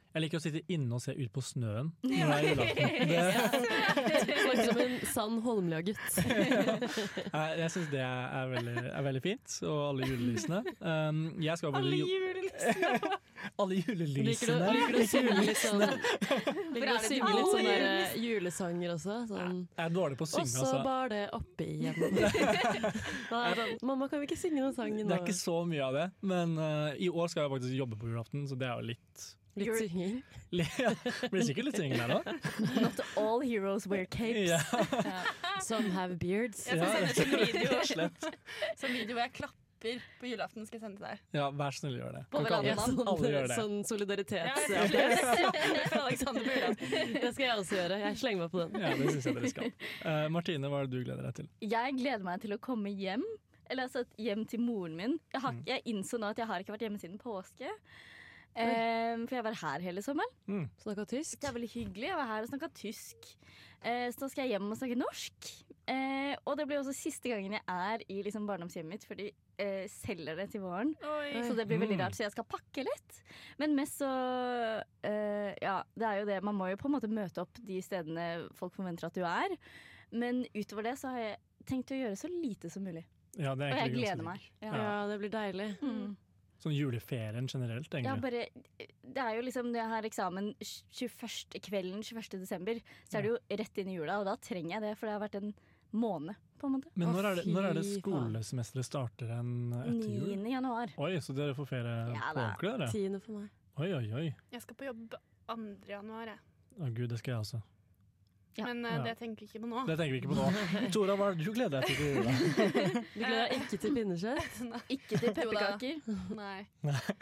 [SPEAKER 1] jeg liker å sitte inne og se ut på snøen når det er julaften. Det,
[SPEAKER 4] Snakker som en sann Holmlia-gutt.
[SPEAKER 1] jeg jeg syns det er veldig, er veldig fint, og alle julelysene. Um, jeg skal vel
[SPEAKER 2] Alle julelysene!
[SPEAKER 1] alle
[SPEAKER 4] Liker du
[SPEAKER 1] julelysene!
[SPEAKER 4] liker du å synge litt sånn Liker du å
[SPEAKER 2] det
[SPEAKER 4] synge litt
[SPEAKER 2] alle
[SPEAKER 4] sånne der, julesanger også? Sånn.
[SPEAKER 1] Jeg er dårlig på å
[SPEAKER 4] Og
[SPEAKER 1] synge,
[SPEAKER 4] så
[SPEAKER 1] altså.
[SPEAKER 4] bar det oppe igjen. Nei, sånn, Mamma, kan vi ikke synge noen sang
[SPEAKER 1] Det
[SPEAKER 4] nå?
[SPEAKER 1] er ikke så mye av det, men uh, i år skal jeg faktisk jobbe på julaften, så det er jo litt
[SPEAKER 4] Litt synging.
[SPEAKER 1] Blir sikkert litt syngende her nå.
[SPEAKER 4] eh,
[SPEAKER 3] Not all heroes wear capes.
[SPEAKER 1] Ja,
[SPEAKER 4] Some have beards.
[SPEAKER 2] Jeg skal
[SPEAKER 1] Ja.
[SPEAKER 2] sende til video,
[SPEAKER 1] slett.
[SPEAKER 2] sånn video hvor jeg klapper på julaften. skal jeg sende til deg.
[SPEAKER 1] Ja, vær så snill, gjør det.
[SPEAKER 3] På
[SPEAKER 1] Kan ikke alle-
[SPEAKER 4] Ja, sånn,
[SPEAKER 1] alle gjør det.
[SPEAKER 4] sånn
[SPEAKER 2] Ja,
[SPEAKER 4] solidaritets...
[SPEAKER 2] jeg
[SPEAKER 4] Ja,
[SPEAKER 2] skal fra Alexander på julaften.
[SPEAKER 4] det skal jeg også gjøre. Jeg slenger meg på den.
[SPEAKER 1] Ja, det syns jeg dere skal. Eh, Martine, hva er det du gleder deg til?
[SPEAKER 3] Jeg gleder meg til å komme hjem. Eller altså hjem til moren min. Jeg, har, ikke- jeg innså nå at jeg har ikke vært hjemme siden påske. Ehm, for jeg var her hele sommeren.
[SPEAKER 4] Snakka tysk.
[SPEAKER 3] Ehm, Det er veldig hyggelig. Jeg var her og snakka tysk. Eh, så nå skal jeg hjem og snakke norsk. Eh, og det blir også siste gangen jeg er i liksom barndomshjemmet mitt, for de eh, selger det til våren.
[SPEAKER 2] Oi.
[SPEAKER 3] Så det blir veldig
[SPEAKER 1] Mm.
[SPEAKER 3] rart, så jeg skal pakke litt. Men mest så eh, Ja, det er jo det. Man må jo på en måte møte opp de stedene folk forventer at du er. Men utover det så har jeg tenkt å gjøre så lite som mulig.
[SPEAKER 1] Ja, det er
[SPEAKER 3] Og jeg
[SPEAKER 1] egentlig ganske
[SPEAKER 3] gleder meg.
[SPEAKER 1] digg.
[SPEAKER 3] Ja.
[SPEAKER 1] Ja.
[SPEAKER 4] Ja, det blir deilig.
[SPEAKER 3] Mm.
[SPEAKER 1] Sånn juleferien generelt,
[SPEAKER 3] Ja,
[SPEAKER 1] egentlig.
[SPEAKER 3] bare, det er jo liksom det her eksamen 21. kvelden 21. desember, så er det jo rett inn i jula, og da trenger jeg det, for det har vært en måned, på en måte.
[SPEAKER 1] Men
[SPEAKER 4] Å,
[SPEAKER 1] når er det, når er det
[SPEAKER 4] fy faen.
[SPEAKER 1] skolesemesteret starter en etter
[SPEAKER 3] 9.
[SPEAKER 1] jul?
[SPEAKER 3] januar.
[SPEAKER 1] Oi, så dere får ferie
[SPEAKER 3] Ja
[SPEAKER 1] på
[SPEAKER 3] da.
[SPEAKER 1] ordentlig, dere?
[SPEAKER 4] Tiende for meg.
[SPEAKER 1] Oi, oi, oi.
[SPEAKER 2] Jeg skal på jobb 2. januar, jeg.
[SPEAKER 1] Å gud, det skal jeg også.
[SPEAKER 3] Ja.
[SPEAKER 2] Men eh,
[SPEAKER 1] Ja.
[SPEAKER 2] det tenker jeg ikke på nå.
[SPEAKER 1] Det tenker vi ikke på nå. Tora, hva er det du gleder deg til til jula?
[SPEAKER 4] Du gleder deg ikke til pinnekjøtt?
[SPEAKER 3] Ikke til
[SPEAKER 2] Jo da.
[SPEAKER 3] pepperkaker.
[SPEAKER 2] Nei.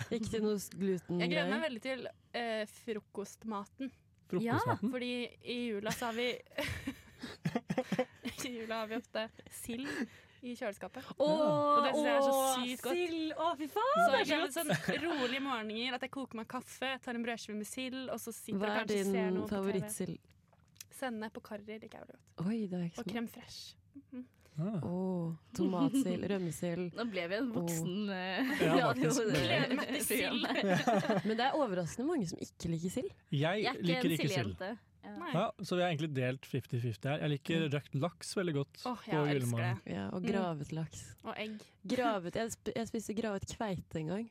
[SPEAKER 4] Ikke til noe
[SPEAKER 2] Jeg gleder meg
[SPEAKER 4] glutengreier?
[SPEAKER 2] veldig til eh, frokostmaten.
[SPEAKER 1] Frokostmaten?
[SPEAKER 2] Fordi i jula så har vi I jula har vi ofte sild i kjøleskapet. Og det synes jeg er så sykt godt.
[SPEAKER 4] Sild! Å, fy faen!
[SPEAKER 2] Så
[SPEAKER 4] det
[SPEAKER 2] jeg
[SPEAKER 4] er
[SPEAKER 2] kjenner
[SPEAKER 4] så godt.
[SPEAKER 2] sånn rolige morgener at jeg koker meg kaffe, tar en brødskive med sild, og så sitter
[SPEAKER 4] Hva
[SPEAKER 2] og
[SPEAKER 4] er
[SPEAKER 2] kanskje
[SPEAKER 4] din
[SPEAKER 2] ser noe på
[SPEAKER 4] favorittsild?
[SPEAKER 2] TV. Sennep og karri liker jeg veldig godt.
[SPEAKER 4] Oi, det er
[SPEAKER 2] Og
[SPEAKER 4] ikke så mye.
[SPEAKER 2] crème fresh.
[SPEAKER 1] Ah.
[SPEAKER 4] Å, tomatsild, rømmesild.
[SPEAKER 3] Nå ble vi en voksen eh,
[SPEAKER 1] Ja,
[SPEAKER 3] radio-
[SPEAKER 1] faktisk.
[SPEAKER 2] Gleder meg til sild.
[SPEAKER 3] program.
[SPEAKER 4] Men det er overraskende mange som ikke liker sild.
[SPEAKER 1] Jeg
[SPEAKER 3] Jeg er ikke
[SPEAKER 1] liker
[SPEAKER 3] en
[SPEAKER 1] ikke sild.
[SPEAKER 3] sildjente.
[SPEAKER 2] Nei.
[SPEAKER 1] Ja, så vi har egentlig delt 50-50 her. Jeg liker røkt laks veldig godt
[SPEAKER 2] Åh, jeg elsker det.
[SPEAKER 4] Ja, og
[SPEAKER 2] Mm.
[SPEAKER 4] gravet laks.
[SPEAKER 2] Og egg.
[SPEAKER 4] Gravet, jeg, sp jeg spiste gravet kveite en gang.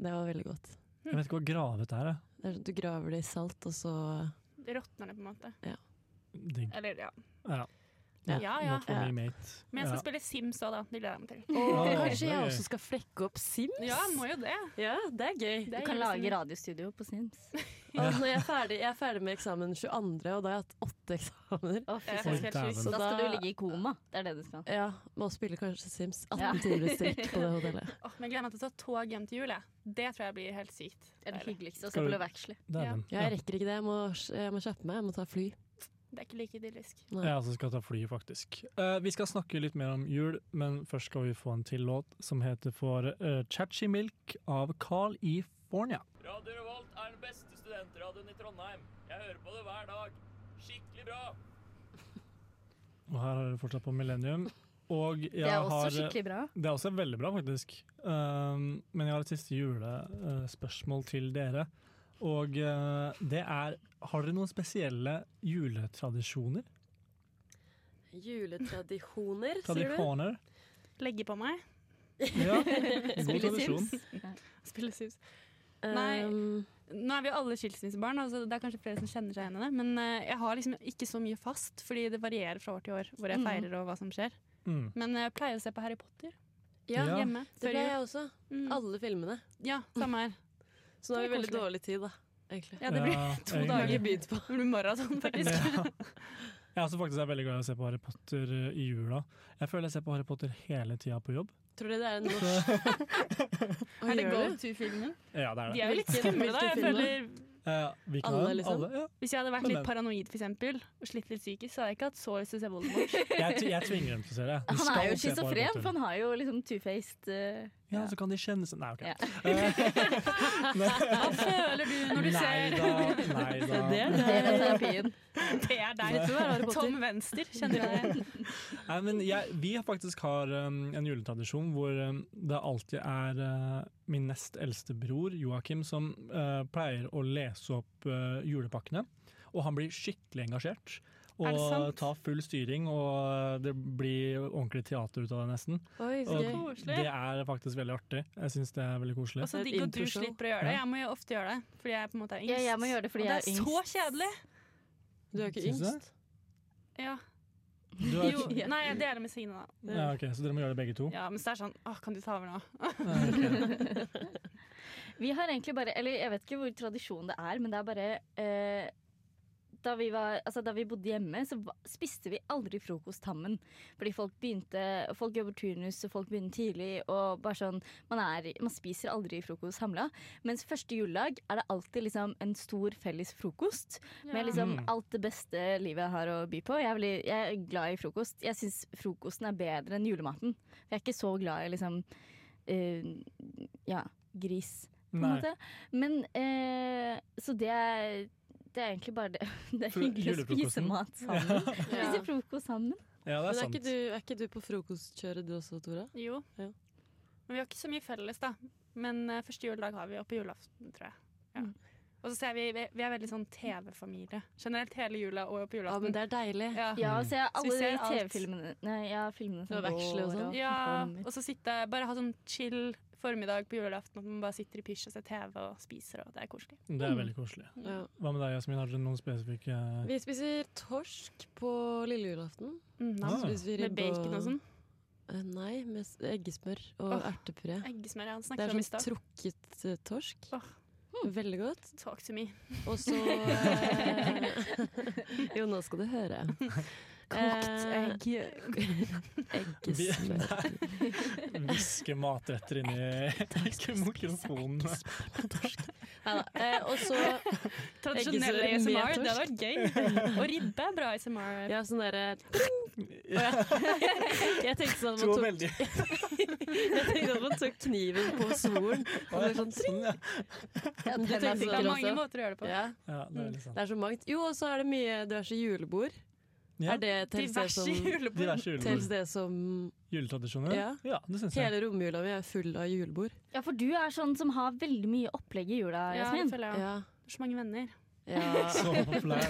[SPEAKER 4] Det var veldig godt.
[SPEAKER 1] Jeg vet ikke hva gravet er. jeg.
[SPEAKER 4] Det er sånn, at du graver det i salt, og så
[SPEAKER 2] Det Råtner det på en måte.
[SPEAKER 1] Digg.
[SPEAKER 2] Eller ja.
[SPEAKER 1] Ja.
[SPEAKER 4] Ja.
[SPEAKER 2] Ja, ja.
[SPEAKER 1] Not for me, mate.
[SPEAKER 2] Men jeg skal
[SPEAKER 1] Ja.
[SPEAKER 2] spille Sims òg, da. Det gleder jeg meg til.
[SPEAKER 1] Åh,
[SPEAKER 4] Kanskje
[SPEAKER 1] det er
[SPEAKER 4] jeg
[SPEAKER 1] gøy.
[SPEAKER 4] også skal flekke opp Sims?
[SPEAKER 2] Ja, må jo det.
[SPEAKER 4] Ja, det er gøy.
[SPEAKER 2] Det
[SPEAKER 3] Du
[SPEAKER 2] er
[SPEAKER 3] kan
[SPEAKER 2] jo
[SPEAKER 3] lage
[SPEAKER 2] liksom-
[SPEAKER 3] radiostudio på Sims.
[SPEAKER 4] Og når jeg, er ferdig, jeg er ferdig med eksamen 22., og da har jeg hatt åtte eksamener.
[SPEAKER 3] Å, fy
[SPEAKER 2] Jeg er
[SPEAKER 1] Oi,
[SPEAKER 3] søren.
[SPEAKER 2] faktisk helt sjuk.
[SPEAKER 1] dæven.
[SPEAKER 3] Da skal du
[SPEAKER 4] da-
[SPEAKER 3] ligge i koma. Det er det du skal.
[SPEAKER 4] Ja, Må spille kanskje Sims. 18
[SPEAKER 3] Ja.
[SPEAKER 4] timer i strekk på det hotellet.
[SPEAKER 2] Åh, men jeg gleder meg til å ta tog hjem til jul. jeg. Det tror jeg blir helt sykt.
[SPEAKER 3] Det er det
[SPEAKER 2] Deilig.
[SPEAKER 3] hyggeligste. Og
[SPEAKER 1] Skal du-
[SPEAKER 3] så ble veksle.
[SPEAKER 1] Dæven.
[SPEAKER 4] Ja, jeg rekker ikke det. Jeg må, jeg må kjappe meg. Jeg må ta fly.
[SPEAKER 2] Det er ikke like idyllisk.
[SPEAKER 1] Jeg også skal ta fly, faktisk. Eh, vi skal snakke litt mer om jul, men først skal vi få en til låt som heter for eh, Chachi Milk av Carl E. Fornia.
[SPEAKER 8] Radio Revolt er den beste studentradioen i Trondheim. Jeg hører på det hver dag. Skikkelig bra!
[SPEAKER 1] Og her er det fortsatt på Millennium. Og jeg
[SPEAKER 3] Det er også
[SPEAKER 1] har, eh,
[SPEAKER 3] skikkelig bra.
[SPEAKER 1] Det er også veldig bra, faktisk. Um, men jeg har et siste julespørsmål til dere. Og eh, det er Har dere noen spesielle juletradisjoner?
[SPEAKER 4] Juletradisjoner,
[SPEAKER 1] Tradisjoner?
[SPEAKER 2] Legge på meg,
[SPEAKER 1] Ja, god
[SPEAKER 3] Spille
[SPEAKER 1] tradisjon.
[SPEAKER 3] Sims.
[SPEAKER 2] spille Sims. Nei.
[SPEAKER 4] Ehm,
[SPEAKER 2] Nå er vi jo alle skilsmissebarn, altså det er kanskje flere som kjenner seg igjen i det. Men eh, jeg har liksom ikke så mye fast, fordi det varierer fra år til år hvor jeg
[SPEAKER 3] Mhm.
[SPEAKER 2] feirer og hva som skjer.
[SPEAKER 1] Mm.
[SPEAKER 2] Men eh, jeg pleier å se på Harry Potter
[SPEAKER 4] ja,
[SPEAKER 1] Ja.
[SPEAKER 2] hjemme.
[SPEAKER 4] det
[SPEAKER 2] før
[SPEAKER 4] ble
[SPEAKER 2] jul.
[SPEAKER 4] jeg også.
[SPEAKER 2] Mm.
[SPEAKER 4] Alle filmene.
[SPEAKER 2] Ja, samme her.
[SPEAKER 4] Så nå har
[SPEAKER 2] Det
[SPEAKER 4] vi
[SPEAKER 2] er
[SPEAKER 4] veldig
[SPEAKER 2] koselig.
[SPEAKER 4] dårlig tid, da. Egentlig.
[SPEAKER 2] Ja, det blir
[SPEAKER 1] Ja,
[SPEAKER 2] to
[SPEAKER 1] egentlig.
[SPEAKER 2] dager.
[SPEAKER 4] begynt på.
[SPEAKER 2] det blir maraton, faktisk.
[SPEAKER 1] Ja. Jeg er også faktisk er veldig glad i å se på Harry Potter eh, i jula. Jeg føler jeg ser på Harry Potter hele tida på jobb.
[SPEAKER 4] Tror du det er en norsk Hva
[SPEAKER 2] Er det
[SPEAKER 4] gjør
[SPEAKER 2] go
[SPEAKER 4] du?
[SPEAKER 2] to-filmen?
[SPEAKER 1] Ja, det er
[SPEAKER 2] De
[SPEAKER 1] det.
[SPEAKER 2] er jo litt
[SPEAKER 4] Hvilken-
[SPEAKER 2] skumle, da. Jeg
[SPEAKER 4] hvilken film da?
[SPEAKER 2] føler,
[SPEAKER 1] Eh, vi kan
[SPEAKER 4] Alle,
[SPEAKER 1] alle,
[SPEAKER 4] liksom?
[SPEAKER 1] ja.
[SPEAKER 2] hvis jeg hadde vært
[SPEAKER 1] Men
[SPEAKER 2] litt
[SPEAKER 1] den-
[SPEAKER 2] paranoid for eksempel, og slitt litt psykisk, så hadde jeg ikke hatt så lyst til å se Voldemort.
[SPEAKER 1] jeg, tv- jeg tvinger dem til å se det. Du
[SPEAKER 3] Han
[SPEAKER 1] skal se på
[SPEAKER 3] er jo
[SPEAKER 1] Harry
[SPEAKER 3] schizofren,
[SPEAKER 1] Potter.
[SPEAKER 3] for han har jo liksom two-faced eh,
[SPEAKER 1] Ja, så kan de kjenne seg Nei, OK. Eh,
[SPEAKER 3] Ja.
[SPEAKER 2] Hva føler du når du
[SPEAKER 1] Nei
[SPEAKER 2] ser
[SPEAKER 1] da, nei da.
[SPEAKER 4] Det er
[SPEAKER 3] Det er terapien.
[SPEAKER 2] Det er deg.
[SPEAKER 4] Vet du hva, Harry Potter?
[SPEAKER 2] Tom Venstre, kjenner jeg deg igjen?
[SPEAKER 1] Nei, men jeg, vi har faktisk har um, en juletradisjon hvor um, det alltid er uh, min nest eldste bror, Joakim, som uh, pleier å lese opp uh, julepakkene. Og han blir skikkelig engasjert.
[SPEAKER 2] Er det
[SPEAKER 1] Og
[SPEAKER 2] sant?
[SPEAKER 1] tar full styring, og uh, det blir ordentlig teater ut av det, nesten.
[SPEAKER 4] Oi, så
[SPEAKER 1] Og
[SPEAKER 4] gøy.
[SPEAKER 2] Koselig.
[SPEAKER 1] det er faktisk veldig artig. Jeg syns det er veldig koselig.
[SPEAKER 2] Og så
[SPEAKER 4] Det er
[SPEAKER 2] Altså,
[SPEAKER 4] et
[SPEAKER 2] digg at du
[SPEAKER 4] introshow.
[SPEAKER 2] slipper å gjøre det.
[SPEAKER 1] Ja.
[SPEAKER 2] Jeg må jo ofte gjøre det, fordi jeg på en måte er yngst.
[SPEAKER 3] Ja, jeg må gjøre det fordi
[SPEAKER 2] og det
[SPEAKER 3] jeg
[SPEAKER 2] er
[SPEAKER 3] er
[SPEAKER 2] så
[SPEAKER 3] yngst.
[SPEAKER 2] kjedelig!
[SPEAKER 4] Du er ikke
[SPEAKER 1] Syns du det?
[SPEAKER 4] yngst.
[SPEAKER 2] Ja.
[SPEAKER 1] Du er,
[SPEAKER 2] Jo, nei, jeg deler med Signe, da.
[SPEAKER 1] ja, ok, så dere må gjøre det begge
[SPEAKER 4] Oh.
[SPEAKER 1] to?
[SPEAKER 2] Ja, men så er det sånn Åh, kan du ta over nå?
[SPEAKER 1] Ja, ok.
[SPEAKER 3] Vi har egentlig bare Eller jeg vet ikke hvor tradisjon det er, men det er bare eh, da, vi var, altså, da vi bodde hjemme, så va- spiste vi aldri frokost sammen. Fordi folk begynte Folk jobber turnus, og folk begynner tidlig, og bare sånn Man, er, man spiser aldri frokost samla. Mens første juledag er det alltid liksom en stor felles frokost. Med liksom
[SPEAKER 1] Mm.
[SPEAKER 3] alt det beste livet har å by på. Jeg er, veldig, jeg er glad i frokost. Jeg syns frokosten er bedre enn julematen. Jeg er ikke så glad i liksom eh, Ja, gris på en
[SPEAKER 1] Nei.
[SPEAKER 3] måte. Men eh, Så det er, det er egentlig bare det. Det er
[SPEAKER 1] For
[SPEAKER 3] hyggelig å spise
[SPEAKER 1] julefrokosten?
[SPEAKER 3] mat sammen.
[SPEAKER 2] Ja.
[SPEAKER 3] Spise frokost sammen.
[SPEAKER 1] Ja, det er
[SPEAKER 4] Men er
[SPEAKER 1] sant.
[SPEAKER 4] ikke, du, er ikke du på frokostkjøret du også, Tora?
[SPEAKER 2] Jo.
[SPEAKER 4] Ja.
[SPEAKER 2] Men vi har ikke så mye felles, da. Men eh, første juledag har vi, og på julaften, tror jeg. Ja.
[SPEAKER 3] Mm.
[SPEAKER 2] Og så ser vi, vi vi er veldig sånn TV-familie. Generelt hele jula og på
[SPEAKER 4] Ja, men
[SPEAKER 2] julaften.
[SPEAKER 4] det er deilig.
[SPEAKER 2] Ja.
[SPEAKER 3] Ja, og Ah.
[SPEAKER 2] Så
[SPEAKER 3] se
[SPEAKER 2] vi
[SPEAKER 3] alle de
[SPEAKER 2] ser alt.
[SPEAKER 3] TV-filmene Nei, ja, filmene som
[SPEAKER 4] Det var veksler og sånn.
[SPEAKER 2] Ja,
[SPEAKER 3] som kommer.
[SPEAKER 2] og så sitte, bare ha sånn chill formiddag på julaften, at man bare sitter i pysj og ser TV og spiser, og det er koselig.
[SPEAKER 1] Det er veldig koselig.
[SPEAKER 4] Ja.
[SPEAKER 1] Hva med deg, Jasmin? Har dere noen spesifikke uh,
[SPEAKER 4] Vi spiser torsk på lille julaften.
[SPEAKER 2] Mm,
[SPEAKER 1] Ah.
[SPEAKER 2] nice.
[SPEAKER 4] Spiser vi
[SPEAKER 2] Med
[SPEAKER 4] ribbe
[SPEAKER 2] bacon og sånn.
[SPEAKER 4] Eh, Nei, med s- eggesmør og
[SPEAKER 2] Åh.
[SPEAKER 4] ertepuré.
[SPEAKER 2] Eggesmør, ja. Det
[SPEAKER 4] Det
[SPEAKER 2] snakket
[SPEAKER 4] er
[SPEAKER 2] vi om i
[SPEAKER 4] sånn
[SPEAKER 2] stad.
[SPEAKER 4] trukket eh, torsk.
[SPEAKER 2] Åh.
[SPEAKER 4] Veldig godt.
[SPEAKER 2] Talk to me.
[SPEAKER 4] Og så eh, Jo, nå skal du høre. Eh,
[SPEAKER 2] Kokt
[SPEAKER 4] egg. Eggesmør.
[SPEAKER 1] Hviske matretter inn i mikrofonen.
[SPEAKER 4] Neida. Eh, og så
[SPEAKER 2] Tradisjonell
[SPEAKER 4] Eggesmør med
[SPEAKER 2] ASMR, det hadde
[SPEAKER 4] torsk.
[SPEAKER 2] vært gøy. Og ribbe er bra ASMR.
[SPEAKER 4] Ja, sånn derre
[SPEAKER 1] Ja,
[SPEAKER 4] Jeg tenkte sånn at
[SPEAKER 1] to
[SPEAKER 4] man tok,
[SPEAKER 1] veldig
[SPEAKER 4] jeg tenkte at man tok kniven på svoren. Og det er sånn,
[SPEAKER 1] Sånn, ja.
[SPEAKER 3] Ja, tenner
[SPEAKER 4] Men du tenker
[SPEAKER 2] Det er
[SPEAKER 3] sikkert
[SPEAKER 2] mange
[SPEAKER 3] også.
[SPEAKER 2] måter å gjøre det på.
[SPEAKER 4] sånn ja,
[SPEAKER 1] ja, det er veldig sant.
[SPEAKER 4] det er så mangt. Jo, og så er det mye diverse julebord.
[SPEAKER 1] Ja.
[SPEAKER 4] Er det tels det
[SPEAKER 2] Diverse
[SPEAKER 4] som,
[SPEAKER 2] julebord.
[SPEAKER 1] Diverse
[SPEAKER 4] tels
[SPEAKER 1] julebord.
[SPEAKER 4] det som
[SPEAKER 1] Juletradisjoner?
[SPEAKER 4] Ja.
[SPEAKER 1] Ja, det syns jeg.
[SPEAKER 4] Hele romjula mi er full av julebord.
[SPEAKER 3] Ja, for du er sånn som har veldig mye opplegg i jula,
[SPEAKER 2] Ja, det
[SPEAKER 3] Jasmin.
[SPEAKER 2] føler jeg.
[SPEAKER 4] Ja.
[SPEAKER 2] Det er Så mange venner.
[SPEAKER 4] ja.
[SPEAKER 1] Så populær.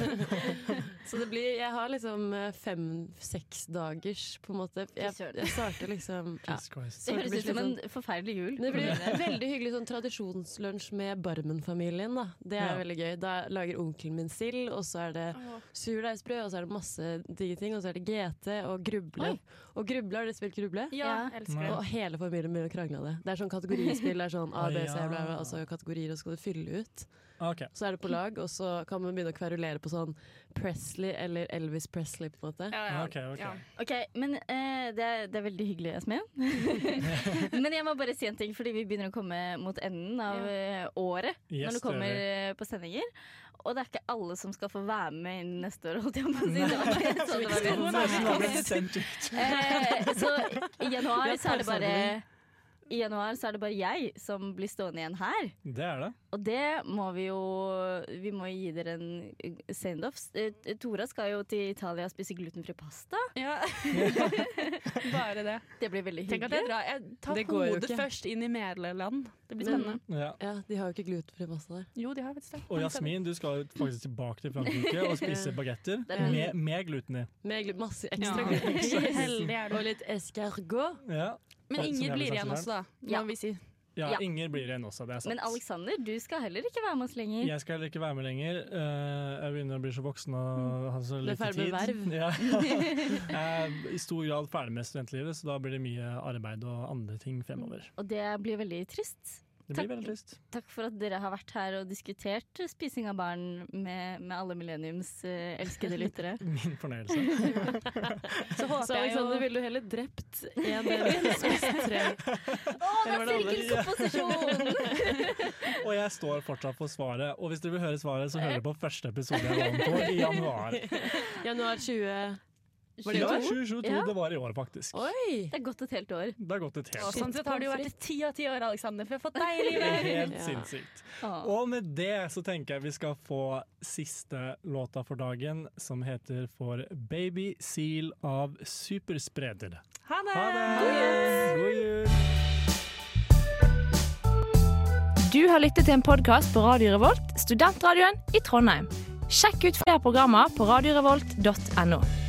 [SPEAKER 4] Så det blir Jeg har liksom fem-seks dagers, på en måte. Jeg,
[SPEAKER 3] Fy søren.
[SPEAKER 4] jeg starter liksom ja.
[SPEAKER 1] Jesus Christ.
[SPEAKER 3] Det
[SPEAKER 4] Så det
[SPEAKER 3] høres
[SPEAKER 4] blir
[SPEAKER 3] ut som en
[SPEAKER 4] litt
[SPEAKER 3] forferdelig jul.
[SPEAKER 4] Men Det blir veldig hyggelig sånn tradisjonslunsj med Barmen-familien. da Det er
[SPEAKER 1] Ja.
[SPEAKER 4] veldig gøy. Da lager onkelen min sild, og så er det surdeigsbrød, og så er det masse digge ting. Og så er det GT og gruble.
[SPEAKER 3] Oi.
[SPEAKER 4] Og gruble, har dere spilt gruble?
[SPEAKER 2] Ja,
[SPEAKER 3] Ja.
[SPEAKER 2] elsker
[SPEAKER 1] Nei.
[SPEAKER 2] det.
[SPEAKER 4] Og hele familien min krangla det. Det er sånn kategorispill. Det er sånn
[SPEAKER 1] Å,
[SPEAKER 4] A, B, C,
[SPEAKER 1] ja.
[SPEAKER 4] bla, bla, og så er det kategorier, og så skal du fylle ut.
[SPEAKER 1] Ok,
[SPEAKER 4] Så er det på lag, og så kan man begynne å kverulere på sånn Presley eller Elvis Presley, på en måte.
[SPEAKER 2] Ja, ja.
[SPEAKER 1] ok, ok.
[SPEAKER 2] Ja.
[SPEAKER 3] Ok, men eh, det, er, det er veldig hyggelig, Jasmin. men jeg må bare si en ting, fordi vi begynner å komme mot enden av
[SPEAKER 2] Ja.
[SPEAKER 3] eh, året.
[SPEAKER 1] Yes, det
[SPEAKER 3] når du
[SPEAKER 1] gjør
[SPEAKER 3] kommer
[SPEAKER 1] vi.
[SPEAKER 3] eh, på sendinger. Og det er ikke alle som skal få være med innen neste år, holdt jeg på å si. Det var bare sånn det var
[SPEAKER 1] Noen
[SPEAKER 3] ment.
[SPEAKER 1] er som har blitt sendt ut.
[SPEAKER 3] Eh, så i
[SPEAKER 4] Vi
[SPEAKER 3] januar
[SPEAKER 4] har
[SPEAKER 3] så er det bare
[SPEAKER 4] pausa
[SPEAKER 3] I januar så er det bare jeg som blir stående igjen her.
[SPEAKER 1] Det er det.
[SPEAKER 3] Og det må vi jo Vi må gi dere en send-off. Eh, Tora skal jo til Italia og spise glutenfri pasta.
[SPEAKER 2] Ja. Bare det.
[SPEAKER 3] Det blir veldig
[SPEAKER 2] Tenk at
[SPEAKER 3] hyggelig.
[SPEAKER 2] jeg drar. Jeg tar
[SPEAKER 4] Det går jo
[SPEAKER 2] hodet
[SPEAKER 4] ikke.
[SPEAKER 2] først inn i Mælerland. Det blir
[SPEAKER 4] Men-
[SPEAKER 2] spennende.
[SPEAKER 1] Ja.
[SPEAKER 4] Ja, de har jo ikke glutenfri pasta der.
[SPEAKER 2] Jo, de har faktisk det.
[SPEAKER 1] Og Jasmin, du skal jo faktisk tilbake til Frankrike og spise bagetter
[SPEAKER 3] Det er-
[SPEAKER 1] med, med gluten i.
[SPEAKER 4] Med glu- masse
[SPEAKER 2] Ja.
[SPEAKER 4] ekstra
[SPEAKER 2] Heldig er
[SPEAKER 4] Og
[SPEAKER 2] du.
[SPEAKER 4] litt escargot.
[SPEAKER 1] Ja.
[SPEAKER 2] Men
[SPEAKER 1] Som
[SPEAKER 2] Inger
[SPEAKER 1] jeg
[SPEAKER 2] blir
[SPEAKER 1] vil
[SPEAKER 2] igjen
[SPEAKER 1] si
[SPEAKER 2] også, da. Må
[SPEAKER 3] Ja.
[SPEAKER 2] vi si.
[SPEAKER 1] Ja,
[SPEAKER 3] Ja.
[SPEAKER 1] Inger blir igjen også, det er sant.
[SPEAKER 3] Men Alexander, du skal heller ikke være med oss
[SPEAKER 4] Mm.
[SPEAKER 3] lenger.
[SPEAKER 1] Jeg skal heller ikke være med lenger. Eh, jeg begynner å bli så voksen og ha så
[SPEAKER 4] Du Mm. er
[SPEAKER 1] lite
[SPEAKER 4] ferdig
[SPEAKER 1] tid.
[SPEAKER 4] med
[SPEAKER 1] Ja. jeg er i stor grad ferdig med studentlivet, så da blir det mye arbeid og andre ting fremover.
[SPEAKER 3] Og det blir veldig trist.
[SPEAKER 1] Det
[SPEAKER 3] Takk.
[SPEAKER 1] blir veldig trist.
[SPEAKER 3] Takk for at dere har vært her og diskutert spising av barn med, med alle millenniums eh, elskede lyttere.
[SPEAKER 1] Min fornøyelse.
[SPEAKER 2] Så håper
[SPEAKER 4] Så
[SPEAKER 2] jeg jo
[SPEAKER 4] Alexander, ville du heller drept én baby enn spist tre?
[SPEAKER 3] Å, det er sirkelkomposisjon!
[SPEAKER 1] Og jeg står fortsatt på svaret. Og hvis dere vil høre svaret, så hører dere på første episode jeg var med på i januar.
[SPEAKER 4] Januar 20 Var det i
[SPEAKER 1] Ja,
[SPEAKER 4] år?
[SPEAKER 1] 2022.
[SPEAKER 3] Ja.
[SPEAKER 1] Det var i år, faktisk.
[SPEAKER 4] Oi!
[SPEAKER 3] Det er gått et helt år.
[SPEAKER 1] Det har gått et
[SPEAKER 2] Og
[SPEAKER 1] helt
[SPEAKER 2] Sånn sett har det jo vært ti av ti år, Alexander, for jeg har fått deg i
[SPEAKER 1] Det er
[SPEAKER 2] livet.
[SPEAKER 1] Helt
[SPEAKER 4] Ja.
[SPEAKER 1] sinnssykt.
[SPEAKER 3] Å.
[SPEAKER 1] Og med det så tenker jeg vi skal få siste låta for dagen, som heter For Baby Seal av Superspreder.
[SPEAKER 2] Ha det!
[SPEAKER 1] Ha det! God jul!
[SPEAKER 9] Du har lyttet til en podkast på Radio Revolt, studentradioen i Trondheim. Sjekk ut flere programmer på radiorevolt.no.